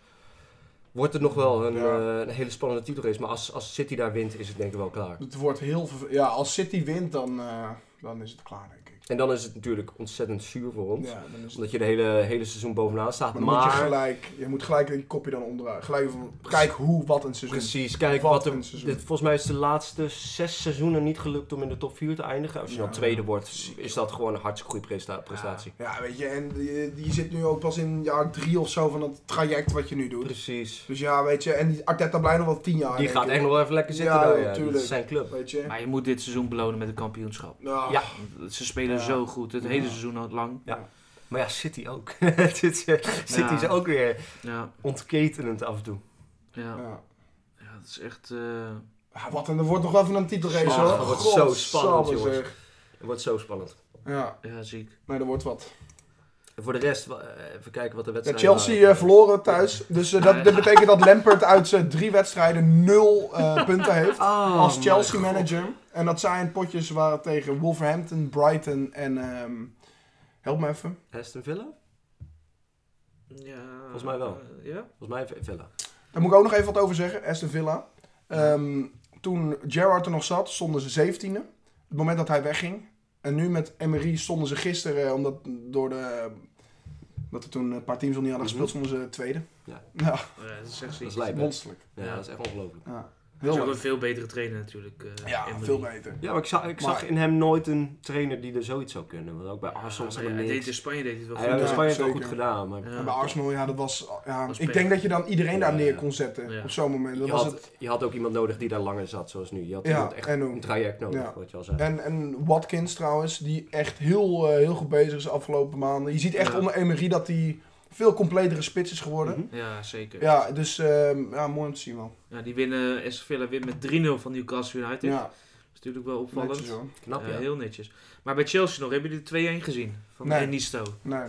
wordt het nog wel een,
Ja.
eh, een hele spannende titelrace. Maar als, als City daar wint, is het denk ik wel klaar.
Het wordt heel verve- Ja, als City wint, dan, eh, dan is het klaar, denk ik.
En dan is het natuurlijk ontzettend zuur voor ons.
Ja, dan is het...
Omdat je de hele, hele seizoen bovenaan staat.
Maar
Maar,
dan moet je gelijk, je moet gelijk je kopje dan onderuit. Gelijk van, kijk hoe, wat een seizoen.
precies, kijk,
Wat
wat er,
een seizoen.
dit, volgens mij is de laatste zes seizoenen niet gelukt om in de top 4 te eindigen. Als je
Ja.
dan tweede wordt, is dat gewoon een hartstikke goede presta- prestatie.
Ja, weet je, en je, je zit nu ook pas in jaar drie of zo van dat traject wat je nu doet.
Precies.
Dus ja, weet je, en die Arteta blijft nog wel tien jaar.
Die
denk
gaat
ik.
echt nog wel even lekker zitten.
Ja,
daar,
joh,
ja. Dit
tuurlijk.
is zijn club.
Weet je?
Maar je moet dit seizoen belonen met een kampioenschap.
Nou,
Ja.
Ze spelen
Ja.
zo goed, het
Ja.
hele seizoen al lang.
Maar ja, City ook. Dit is- City
Ja.
is ook weer
Ja,
ontketenend af en toe.
ja.
ja.
ja dat is echt... eh,
Ah, Wat, en er wordt nog wel even een titelrace
Zo,
hoor.
dat
wordt zo spannend,
Godsamme,
jongens.
zeg.
Het wordt zo spannend.
Ja,
ja, ziek.
nee, er wordt wat.
En voor de rest, wa- eh, even kijken wat de
Ja,
wedstrijd
Chelsea eh, verloren thuis. Dus eh, dat, dat betekent dat Lampert uit zijn drie wedstrijden nul eh, punten heeft.
Oh
Als Chelsea manager. En dat zijn potjes waren tegen Wolverhampton, Brighton en... ehm, help me even.
Aston Villa?
Ja,
Volgens mij wel.
eh, ja?
Volgens mij Villa.
Daar moet ik ook nog even wat over zeggen. Aston Villa. Ehm, toen Gerrard er nog zat, stonden ze 17e. Het moment dat hij wegging. En nu met Emery stonden ze gisteren, eh, omdat door de. Dat er toen een paar teams nog niet hadden gespeeld, stonden ze tweede.
Mhm. Ja.
ja
Ja, dat is echt
Dat
ziek.
is lijp, hè?
monsterlijk.
Ja, dat is echt ongelooflijk.
Ja,
Ze
heel
hadden een
leuk.
veel betere trainer natuurlijk. eh,
Ja,
Emery.
veel beter.
Ja, maar ik, zag, ik
Maar-
zag in hem nooit een trainer die er zoiets zou kunnen. Want ook bij Arsenal
Ja,
zag
maar
ik
hij deed
niks.
in Spanje deed hij het wel
Hij had
goed.
in Spanje het wel
zeker.
dus goed gedaan, maar...
Ja.
En bij Arsenal, ja, dat was. Ja,
Was
ik
pech.
denk dat je dan iedereen daar
Ja.
neer kon zetten
Ja.
op zo'n moment. Dat
Je
was
had,
het.
je had ook iemand nodig die daar langer zat, zoals nu. Je had
Ja,
iemand echt
en hoe-
een traject nodig,
ja.
wat je al zei.
En, en Watkins trouwens, die echt heel, eh, heel goed bezig is de afgelopen maanden. Je ziet echt
Ja.
onder Emery dat hij veel completere spits is geworden.
Mhm.
Ja, zeker. Ja.
Ja, dus ehm, ja, mooi om te zien man.
die winnen, SV Villa wint met 3-0 van Newcastle United.
Ja,
Dat is natuurlijk wel opvallend.
netjes hoor.
Knap,
Ja,
ja.
heel netjes. Maar bij Chelsea nog, hebben jullie de 2-1 gezien? Van
Nee.
Enisto.
Nee.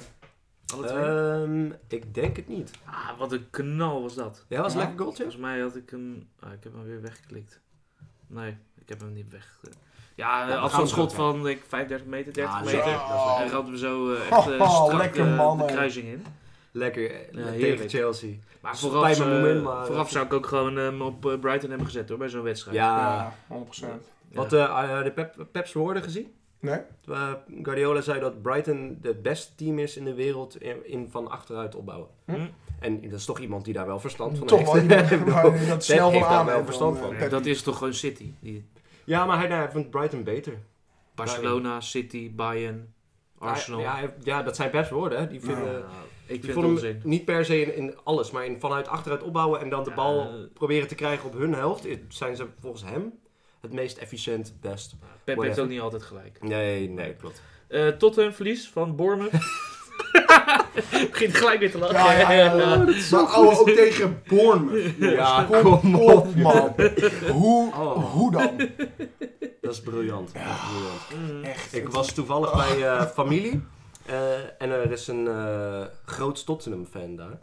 Alle twee?
Ehm, ik denk het niet.
Ah, wat een knal was dat.
Ja, was een
Ja.
lekker goaltje?
Volgens mij had ik hem... Ah, ik heb hem weer weggeklikt. Nee, ik heb hem niet weg... Ja,
we
een
gaan
afstandsschot
hem
van denk ik, 35 meter, 30
Ah,
meter.
zo.
En
Zo.
ramt hem zo eh, echt eh,
Oh,
strak
lekker
eh,
man,
de
hè.
kruising in.
Lekker, eh, tegen
heerlijk.
Chelsea.
Maar
Spijt
vooraf,
me,
eh,
moment, maar-
vooraf zou ik ook gewoon hem op eh, Brighton hebben gezet hoor, bij zo'n wedstrijd.
Ja,
Ja, 100%.
wat eh, eh, de pep, Pep's woorden gezien?
Nee?
Eh, Guardiola zei dat Brighton het beste team is in de wereld in, in van achteruit opbouwen.
Hm?
En dat is toch iemand die daar wel verstand van
Toch
heeft.
wel
Ik
iemand
bedoel,
waar je dat snel
heeft
wel
daar
aan
wel
hebt
verstand
dan,
van.
eh,
Nee,
Pep.
dat is toch gewoon City? Die
Ja, maar hij, nou, hij vindt Brighton beter.
Barcelona, City, Bayern, Arsenal.
Hij- ja, hij- ja, dat zijn Pep's woorden. hè. Die vinden,
Nou, ik
die
vind het
vonden
onzin.
hem niet per se in, in alles, maar in vanuit achteruit opbouwen en dan de
Ja,
bal
eh.
proberen te krijgen op hun helft. eh, Zijn ze volgens hem het meest efficiënt best.
Pep heeft
Whatever.
ook niet altijd gelijk.
Nee, nee, klopt.
Eh Tottenham verlies van Bournemouth. Begint gelijk weer te lachen.
Ja, ja, ja, ja.
Ja.
Maar ouwe, ook tegen Bournemouth.
Ja,
jongens. kom op man. Hoe,
Oh.
hoe dan?
Dat is briljant. Dat is briljant.
Mm.
Echt.
Ik was toevallig bij eh, familie. eh, en er is een eh, groot Tottenham fan daar.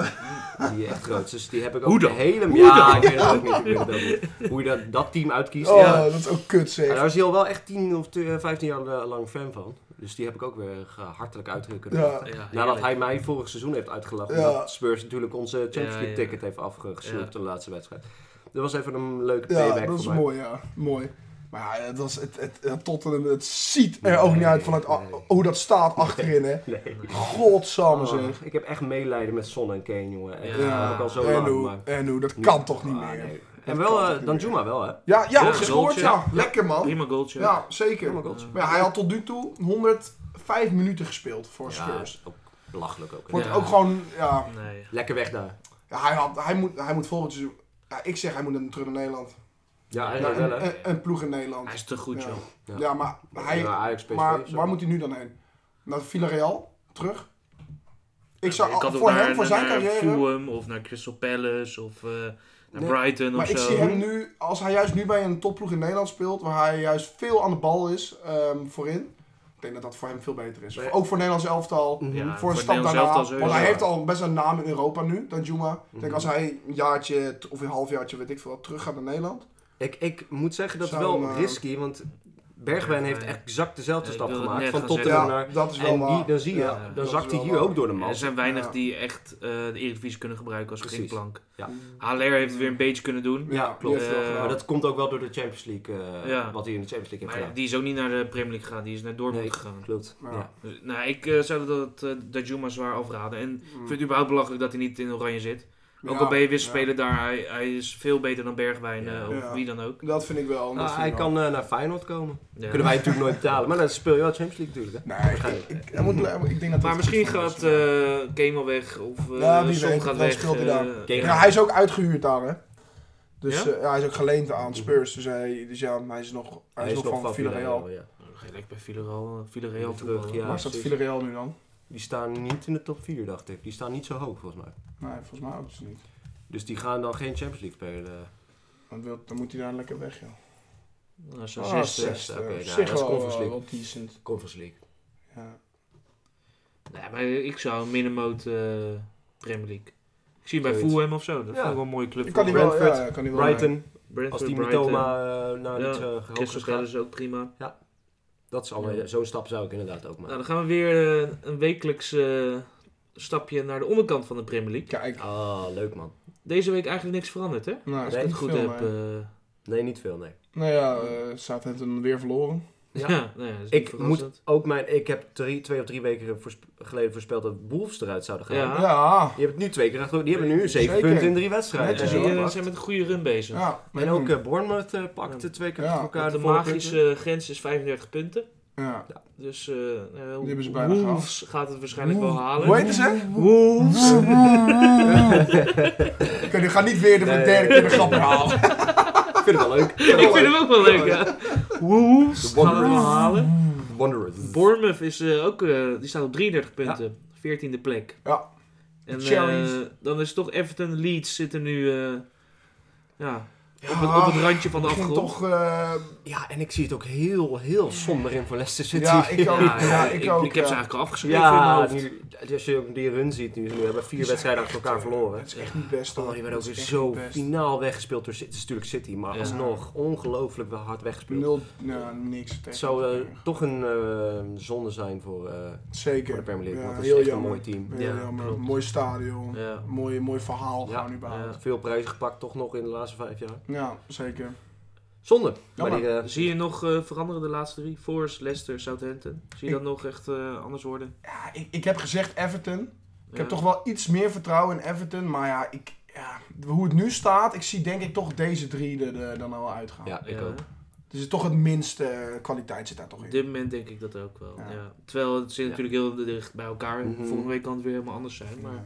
Die echt groot is. Dus die heb ik ook
Hoe dan?
de hele...
Hoe
ja, ik weet het ook niet. Ik weet het ook niet. Hoe je dat, dat team uitkiest.
Oh,
Ja.
dat is ook kut
En daar
zeg.
was hij al wel echt 10 of 15 jaar eh, lang fan van. Dus die heb ik ook weer ge- hartelijk uitgerukken.
Ja.
Ja,
Nadat
heerlijk.
hij mij vorig seizoen heeft uitgelachen.
Ja.
Dat Spurs natuurlijk onze Champions
Ja,
League
ja.
ticket heeft afgesnoept
Ja.
de laatste wedstrijd. Dat was even een leuke
Ja,
payback
dat is
voor mij.
mooi ja. Mooi. Maar ja, het, was, het, het, het Tottenham, het ziet er ook niet uit vanuit a- hoe dat staat achterin hè.
Nee.
Godsamme
Oh,
zeg.
ik heb echt meelijden met Son en Kane, jongen. Echt,
Ja.
dat heb ik al zo
en
lang,
hoe,
maar...
en hoe, dat
nu-
kan toch niet
Ah,
meer.
nee.
Dat
En
kan
wel
toch
eh,
niet
Danjuma wel, hè?
Ja, ja,
Ja,
gescoord
goaltje.
ja. Lekker man.
Prima goaltje.
Ja, zeker.
Helemaal goals.
Maar ja, hij had tot nu toe 105 minuten gespeeld voor
Ja,
Spurs.
ook belachelijk ook. hè.
Wordt
Ja.
ook gewoon, ja,
Nee.
Lekker weg daar.
ja, hij, had, hij, moet, hij moet volgend seizoen, ja, ik zeg hij moet hem terug naar Nederland.
Ja,
Ja,
Naar
eigenlijk
en-
wel,
een,
hè?
een, een ploeg in Nederland.
Hij is te goed,
Ja.
joh.
Ja.
Ja, maar, hij,
Ja, Ajax, PSV of
maar
zo.
waar moet hij nu dan heen? Naar Villarreal? Terug? Ik
Je
zou,
kan ook
voor
naar- eh,
hem, voor zijn
naar
carrière...
Fulham of naar Crystal Palace of eh, naar
Nee,
Brighton of
Maar ik
zo.
zie hem nu, als hij juist nu bij een topploeg in Nederland speelt, waar hij juist veel aan de bal is ehm, voorin, ik denk dat dat voor hem veel beter is.
Nee.
Ook voor Nederlands elftal.
Mhm.
Ja.
voor een
voor
stap
Nederland
daarna.
zelf al
Want hij heeft
sowieso.
al best een naam in Europa nu, dan Juma. Ik denk
Mhm.
als hij een jaartje t- of een halfjaartje, weet ik veel, wat, terug gaat naar Nederland.
Ik, ik moet zeggen, dat is
Zou
wel
hem, eh,
risky, want Bergwijn heeft
Bergwijn.
exact dezelfde
Ja, ik
stap
wilde het
gemaakt.
net
Van
gaan
Tottenham
Ja,
naar...
dat is wel
En die,
waar.
dan zie je,
Ja,
dan
dat is
zakt hij
wel
hier
waar.
ook door de
Ja,
man.
er zijn weinig
Ja.
die echt eh, de Eredivisie kunnen gebruiken als
Precies.
springplank.
Ja. Ah,
Haller heeft het weer een beetje kunnen doen.
Ja,
Mm. die
klopt.
heeft het wel
Eh,
gedaan.
Maar dat komt ook wel door de Champions League, eh,
Ja.
wat hij in de Champions League heeft
Maar
gedaan.
die is ook niet naar de Premier League gegaan, die is naar Dortmund
Nee.
gegaan.
Klopt.
Ja.
Ja.
Dus, nou, ik eh, zou dat, eh dat Juma zwaar afraden. En ik
Mm.
vind het überhaupt belachelijk dat hij niet in oranje zit.
Ja,
Ook al ben je
ja.
wisselspeler daar, hij, hij is veel beter dan Bergwijn
Ja.
eh, of
Ja.
wie dan ook.
Dat vind ik wel. dat
Nou,
vind
hij
ik wel.
kan eh, naar Feyenoord komen.
Ja.
Kunnen wij natuurlijk nooit betalen, maar dan speel je wel Champions League natuurlijk, hè?
Nee, ik, ik, hij moet, ik denk dat
Maar
het
misschien
goed is.
gaat eh Kane wel weg of eh
Ja, wie
Son
weet,
gaat
dan
weg.
scheelt hij daar.
eh,
Kane-
Ja, hij is ook uitgehuurd daar, hè? Dus
Ja?
ja? ja, hij is ook geleend aan Spurs. Dus, hij, dus ja, hij is nog, hij is nog, van Villarreal.
ja.
Dan ga je lekker bij Villarreal, eh, Villarreal
Terug,
terug.
ja.
Waar staat
precies.
Villarreal nu dan?
Die staan niet in de top 4, dacht ik. Die staan niet zo hoog, volgens mij.
Nee, volgens mij ook dus niet.
Dus die gaan dan geen Champions League spelen.
Want wil- dan moet hij daar lekker weg, joh.
Nou, zo'n
Ah,
zesde.
zesde.
Oké, nou,
Op zich
dat is
wel,
Conference
eh,
League.
wel decent.
Conference League.
Ja.
Nee, maar ik zou een middenmoot eh, Premier League. Ik zie hem bij
Zoiets.
Fulham of zo. Dat
Ja.
vind ik wel een mooie club.
Ik kan die
voor-
wel, ja,
Brentford,
ja, kan die wel
Brighton,
Brentford,
als die
Brighton.
Mitoma eh, naar
Ja,
iets eh, hoger
Crystal
gaat.
Palace ook prima.
Dat is al,
Ja.
zo'n stap zou ik inderdaad ook
Nou,
maken.
dan gaan we weer eh, een wekelijks eh, stapje naar de onderkant van de Premier League.
Kijk,
Ah, leuk man.
Deze week eigenlijk niks veranderd, hè?
nou,
Als
Nee,
ik het
niet
goed
veel,
heb.
nee.
eh,
Nee, niet veel, nee.
Nou ja, eh Southampton weer verloren.
Ja.
nou ja, dat is niet
Ik,
verrassend.
moet ook mijn, ik heb drie, twee of drie weken voorsp- geleden voorspeld dat Wolves eruit zouden gaan.
Ja.
Ja, ja.
Je hebt het nu twee keer achter. Die hebben nu zeven
Zeker.
punten in drie wedstrijden.
Ja,
Netjes,
die
hoor.
eh,
Wacht.
zijn met een goede run bezig.
En
maar
ook
doen.
eh, Bournemouth eh, pakte twee keer
Ja.
achter elkaar
Want
de
de
voorpunten.
magische grens is 35 punten.
ja.
Dus eh eh,
hebben ze bijna
Wolves gaat het waarschijnlijk wel halen.
Hoe heet ze?
Wolves.
eh,
Mm. Oké, nu ga niet weer de
Nee.
derde keer de grap herhalen.
Ik vind het wel leuk. Ik vind
Ik
het wel
vind
leuk.
hem ook wel leuk, ja. Wolves
De
gaan het wel
Wanderers.
halen.
Wanderers.
Bournemouth is eh, ook, eh, die staat op 33 punten. 14e plek.
Ja.
En
De Cherries.
eh, dan is toch Everton Leeds zitten nu eh, ja,
Ja,
op, het, op het randje van de
begin
afgrond.
toch... eh,
Ja, en ik zie het ook heel, heel somber in voor Leicester City.
ja, ik ook. Ja,
ja,
ik, ook.
ik heb
ja.
ze eigenlijk al afgeschreven in mijn
Ja,
hoofd.
nu, als je ook die run ziet nu, nu hebben we vier
Die
wedstrijden
zijn
achter elkaar
echt, eh,
verloren.
Het is echt niet best hoor.
Oh, die werden ook
Het
weer
is echt
zo
niet best.
finaal weggespeeld door City. Het is natuurlijk City, maar
Ja.
alsnog ongelooflijk wel hard weggespeeld.
Nul, nou, niks.
Het
tegen.
zou eh, toch een eh, zonde zijn voor, eh,
Zeker.
voor de Premier League,
Ja,
want het is
heel
echt
jammer.
een mooi team.
Heel
Ja,
jammer.
klopt.
Mooi stadion.
Ja.
Mooi, mooi verhaal
Ja,
gewoon überhaupt.
ja.
Veel prijzen gepakt toch nog in de laatste vijf jaar.
Ja, zeker.
Zonde. Maar
Jammer.
die, eh,
Zie je nog eh, veranderen de laatste drie? Forest, Leicester, Southampton. Zie je dat nog echt eh, anders worden?
Ja, ik, ik heb gezegd Everton. Ik
Ja.
heb toch wel iets meer vertrouwen in Everton. Maar ja, ik, ja, hoe het nu staat, ik zie denk ik toch deze drie er, er dan al uitgaan.
ja, ik
Ja.
ook.
Dus toch het minste eh, kwaliteit zit daar toch in.
Op
Dus,
dit moment denk ik dat ook wel. Ja.
Ja.
Terwijl het zit
Ja.
natuurlijk heel dicht bij elkaar.
Mhm.
Volgende week kan het weer helemaal anders zijn. Maar...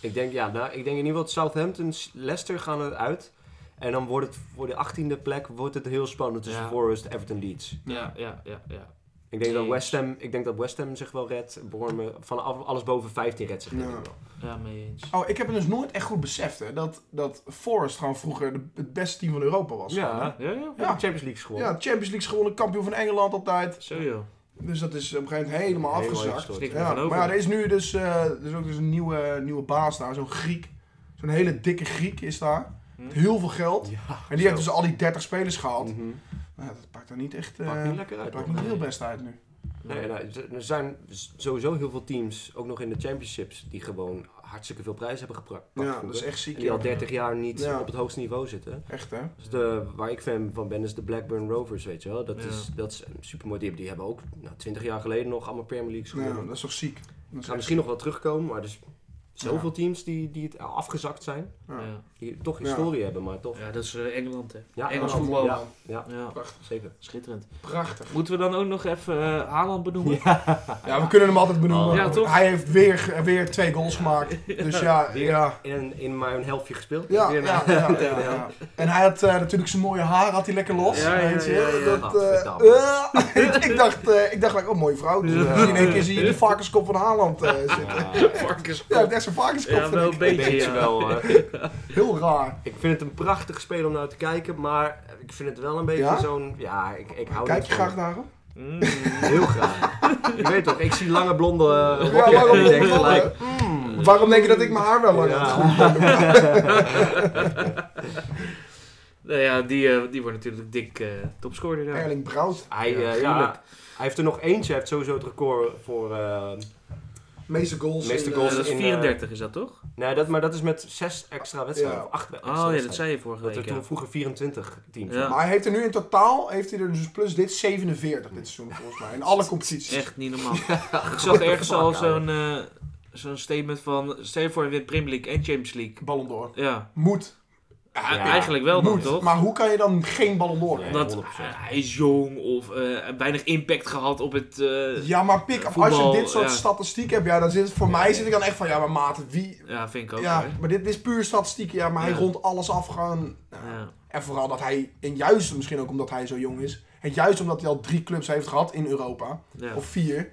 Ik denk, ja, nou, ik denk in ieder geval Southampton, Leicester gaan eruit. En dan wordt het voor de achttiende plek wordt het heel spannend tussen
Ja.
Forest, Everton, Leeds.
Ja, ja, ja, ja.
Ik denk, dat
Eens.
West Ham, ik denk dat West Ham zich wel redt. Bournemouth, van af- alles boven 15 redt zich denk
Ja.
ik wel.
Ja, mee eens.
Oh, ik heb het dus nooit echt goed beseft hè, dat, dat Forest gewoon vroeger de- het beste team van Europa was.
Ja,
Ja, ja.
ja. Champions League is
Ja,
gewonnen.
Champions League gewonnen, kampioen van Engeland altijd.
Zo joh.
Dus dat is op een gegeven moment helemaal
Helemaal
afgezakt.
ingestort.
Is niks meer
Ja,
van over.
maar ja, er is nu dus, eh, er is ook dus een nieuwe, nieuwe baas daar, zo'n Griek. Zo'n hele dikke Griek is daar.
Hm.
Met heel veel geld.
Ja,
En die heeft
zo.
dus al die 30 spelers gehaald.
Mhm.
Nou, dat pakt er niet echt. eh,
Pakt niet lekker
dat
uit.
pakt
hoor.
niet heel best uit nu.
Nee, nou, er er zijn s- sowieso heel veel teams, ook nog in de championships, die gewoon hartstikke veel prijs hebben gepakt.
Ja,
vroeger.
dat is echt
En
ziek.
die al
ja.
30 jaar niet
Ja.
op het hoogste niveau zitten.
Echt hè?
Dus de, waar ik fan van ben is de Blackburn Rovers, weet je wel. Dat
Ja.
is, dat is een supermooi team. Die hebben ook nou, 20 jaar geleden nog allemaal Premier Leagues
Ja,
gewonnen.
dat is toch ziek. Dat is
gaan
echt-
misschien nog wel terugkomen, maar er is zoveel
Ja.
teams die, die het afgezakt zijn.
Ja.
Ja.
Die toch
Ja.
historie hebben, maar toch.
ja, dat is eh, Engeland hè.
Ja,
Engels
Ja,
voetbal.
ja.
Ja,
Ja,
zeker.
schitterend.
Prachtig.
Moeten we dan ook nog even eh, Haaland benoemen?
Ja, we kunnen hem altijd benoemen.
Oh, Ja, toch?
Hij heeft weer, weer twee goals gemaakt. Dus ja,
Weer.
ja.
En in maar een helftje gespeeld.
Ja,
Weer
ja,
naar-
ja, ja, ja. En hij had eh, natuurlijk zijn mooie haar had hij lekker los.
Ja, ja,
weet je?
ja, ja.
Dat, eh, eh, ik, ik dacht, eh, ik dacht like, oh, mooie vrouw. Dus
Ja.
eh, in één keer zie je de varkenskop van Haaland eh, zitten. Ja,
Varkens.
hij heeft echt zijn varkenskop.
Ja, wel
vind
een
ik.
Een
beetje.
beetje
ja.
wel. hoor.
Heel raar.
Ik vind het een prachtig spel om naar te kijken, maar ik vind het wel een beetje
Ja?
zo'n... Ja, ik, ik hou
Kijk
niet
je
van-
graag naar hem?
Mm.
Heel graag. je weet toch, ik zie lange blonde eh,
Ja,
rokjes en
waarom,
ik denk
waarom-
gelijk...
waarom denk je dat ik mijn haar wel lang
Ja.
had gegroeid?
nou ja, die, eh, die wordt natuurlijk dik eh, topscorer. daar.
Erling Braut,
Hij,
Ja,
eh, ja,
tuurlijk.
hij heeft er nog eentje. Hij heeft sowieso het record voor... eh,
meeste goals.
Meeste
in,
Eh,
goals
eh,
dat is
in, eh,
34 is dat toch?
nee, dat, maar dat is met zes extra wedstrijden.
Ja.
Of acht extra
Oh ja, dat
wedstrijden.
zei je vorige
Dat
week.
er
ja.
toen vroeger 24 teams
Ja.
waren.
maar hij heeft er nu in totaal, heeft hij er dus plus dit 47 dit seizoen volgens mij. In alle competities.
Echt niet normaal. ik zag ergens
fuck,
al
ouwe.
zo'n eh, zo'n statement van... Stel je voor, je wint Premier League en Champions League.
Ballon d'Or.
Ja,
Moet.
Ja,
Ja.
eigenlijk wel dan,
Moet.
toch?
Maar hoe kan je dan geen Ballon d'Or
Nee.
Omdat
100%.
hij is jong of eh, weinig impact gehad op het... eh, ja.
Ja, maar pik, af, als je
Voetbal,
dit soort
ja.
statistiek hebt, ja, dan zit het voor mij zit ik dan echt van, ja, maar maat, wie...
vind ik ook.
ja,
hoor.
maar dit is puur statistiek, ja, maar hij
Ja.
rondt alles af gewoon. Nou,
Ja.
En vooral dat hij, en juist misschien ook omdat hij zo jong is, en juist omdat hij al drie clubs heeft gehad in Europa,
Ja.
of vier,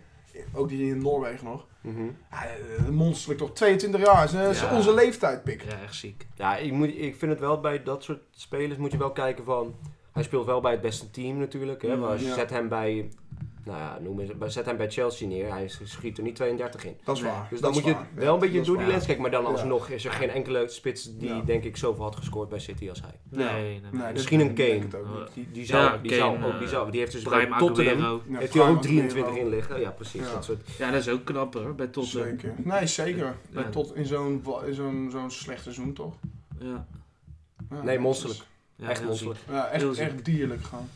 ook die in Noorwegen nog,
Mhm.
ja, eh, monsterlijk toch, 22 jaar, is, eh, is
Ja.
onze leeftijd, pik.
ja, echt ziek.
Ja, ik, moet, ik vind het wel bij dat soort spelers moet je wel kijken van... Hij speelt wel bij het beste team natuurlijk. Hè,
Mm,
maar als je
ja.
zet hem bij... Nou ja, noem eens, maar zet hem bij Chelsea neer. Hij schiet er niet 32 in.
Dat is
Nee.
waar.
Dus dan
dat
moet
is
je
waar. Ja,
wel een beetje
dat is
door die
waar.
lens kijken. Maar dan
Ja.
alsnog is er geen enkele spits die
Ja.
denk ik zoveel had gescoord bij City als hij.
Ja.
Nee, nee.
Nee, dat
Misschien een
denk ik
Kane.
het ook niet.
Die, die
Ja,
zou, die
Kane,
zou ook, die
eh,
zou, die heeft dus bij
Prime
Tottenham,
Aguero.
Ja,
heeft hij ook
Prime
23
Aguero.
in liggen. Ja, precies,
Ja.
dat soort.
Ja, dat is ook knap hoor, bij Tottenham.
Zeker.
eh,
Nee, zeker. Bij
Ja.
Tot in zo'n wa- in zo'n zo'n slecht seizoen toch?
Ja.
Ja,
Nee,
dat
monsterlijk.
is-
Ja,
echt
heel ziek.
monselijk.
Ja,
Heel
echt,
ziek.
echt dierlijk gewoon.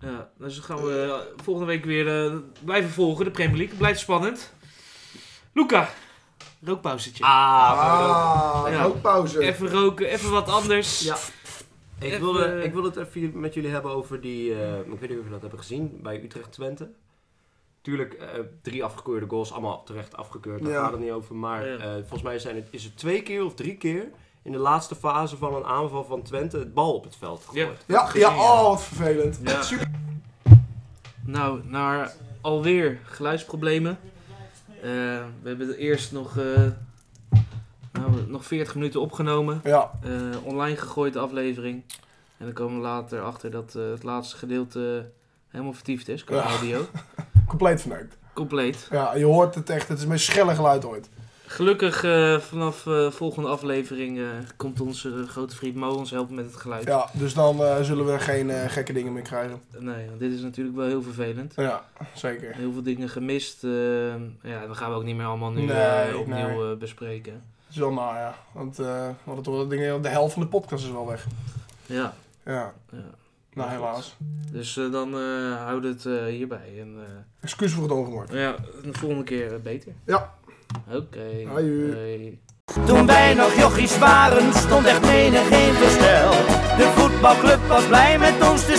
Ja, dus gaan we eh, volgende week weer eh, blijven volgen, de Premier League. Het Blijft spannend. Luca, rookpauzetje.
Ah,
Ah,
Ja.
ook pauze.
Even roken, even wat anders.
Ja. Ik
Even- eh,
wilde, ik wilde het even met jullie hebben over die. eh, ik weet niet of jullie dat hebben gezien bij Utrecht Twente. Tuurlijk, eh, drie afgekeurde goals, allemaal terecht afgekeurd. Daar
Ja.
gaat het niet over. Maar
Ja.
eh, volgens mij zijn het, is het twee keer of drie keer in de laatste fase van een aanval van Twente het bal op het veld gegooid.
Ja,
gezien,
ja,
ja.
oh, wat vervelend.
Ja.
Super.
Nou, naar alweer geluidsproblemen. Eh, we hebben er eerst nog, eh, nou, nog 40 minuten opgenomen.
Ja,
Eh, online gegooid de aflevering. En dan komen we later achter dat eh, het laatste gedeelte helemaal vertiefd is qua
Ja.
audio.
compleet verneukt.
Compleet.
Ja, je hoort het echt. Het is mijn schelle geluid ooit.
Gelukkig eh, vanaf eh, volgende aflevering eh, komt onze grote vriend Mo ons helpen met het geluid.
Ja, dus dan eh, zullen we geen eh, gekke dingen meer krijgen.
Nee, want dit is natuurlijk wel heel vervelend.
Ja, zeker.
Heel veel dingen gemist. eh, ja, dat gaan we ook niet meer allemaal nu
Nee,
eh, opnieuw
nee.
eh, bespreken.
Het is wel naar, ja. Want eh, we hadden toch wel dingen, de helft van de podcast is wel weg.
Ja.
Ja,
ja.
nou helaas.
Dus eh, dan eh houd het eh, hierbij. En, eh,
Excuus voor het ongemoord.
ja, de volgende keer eh, beter.
Ja.
Oké.
Haju.
Hoi.
Toen wij nog jochies waren, stond echt menig geen verstel. De voetbalclub was blij met ons te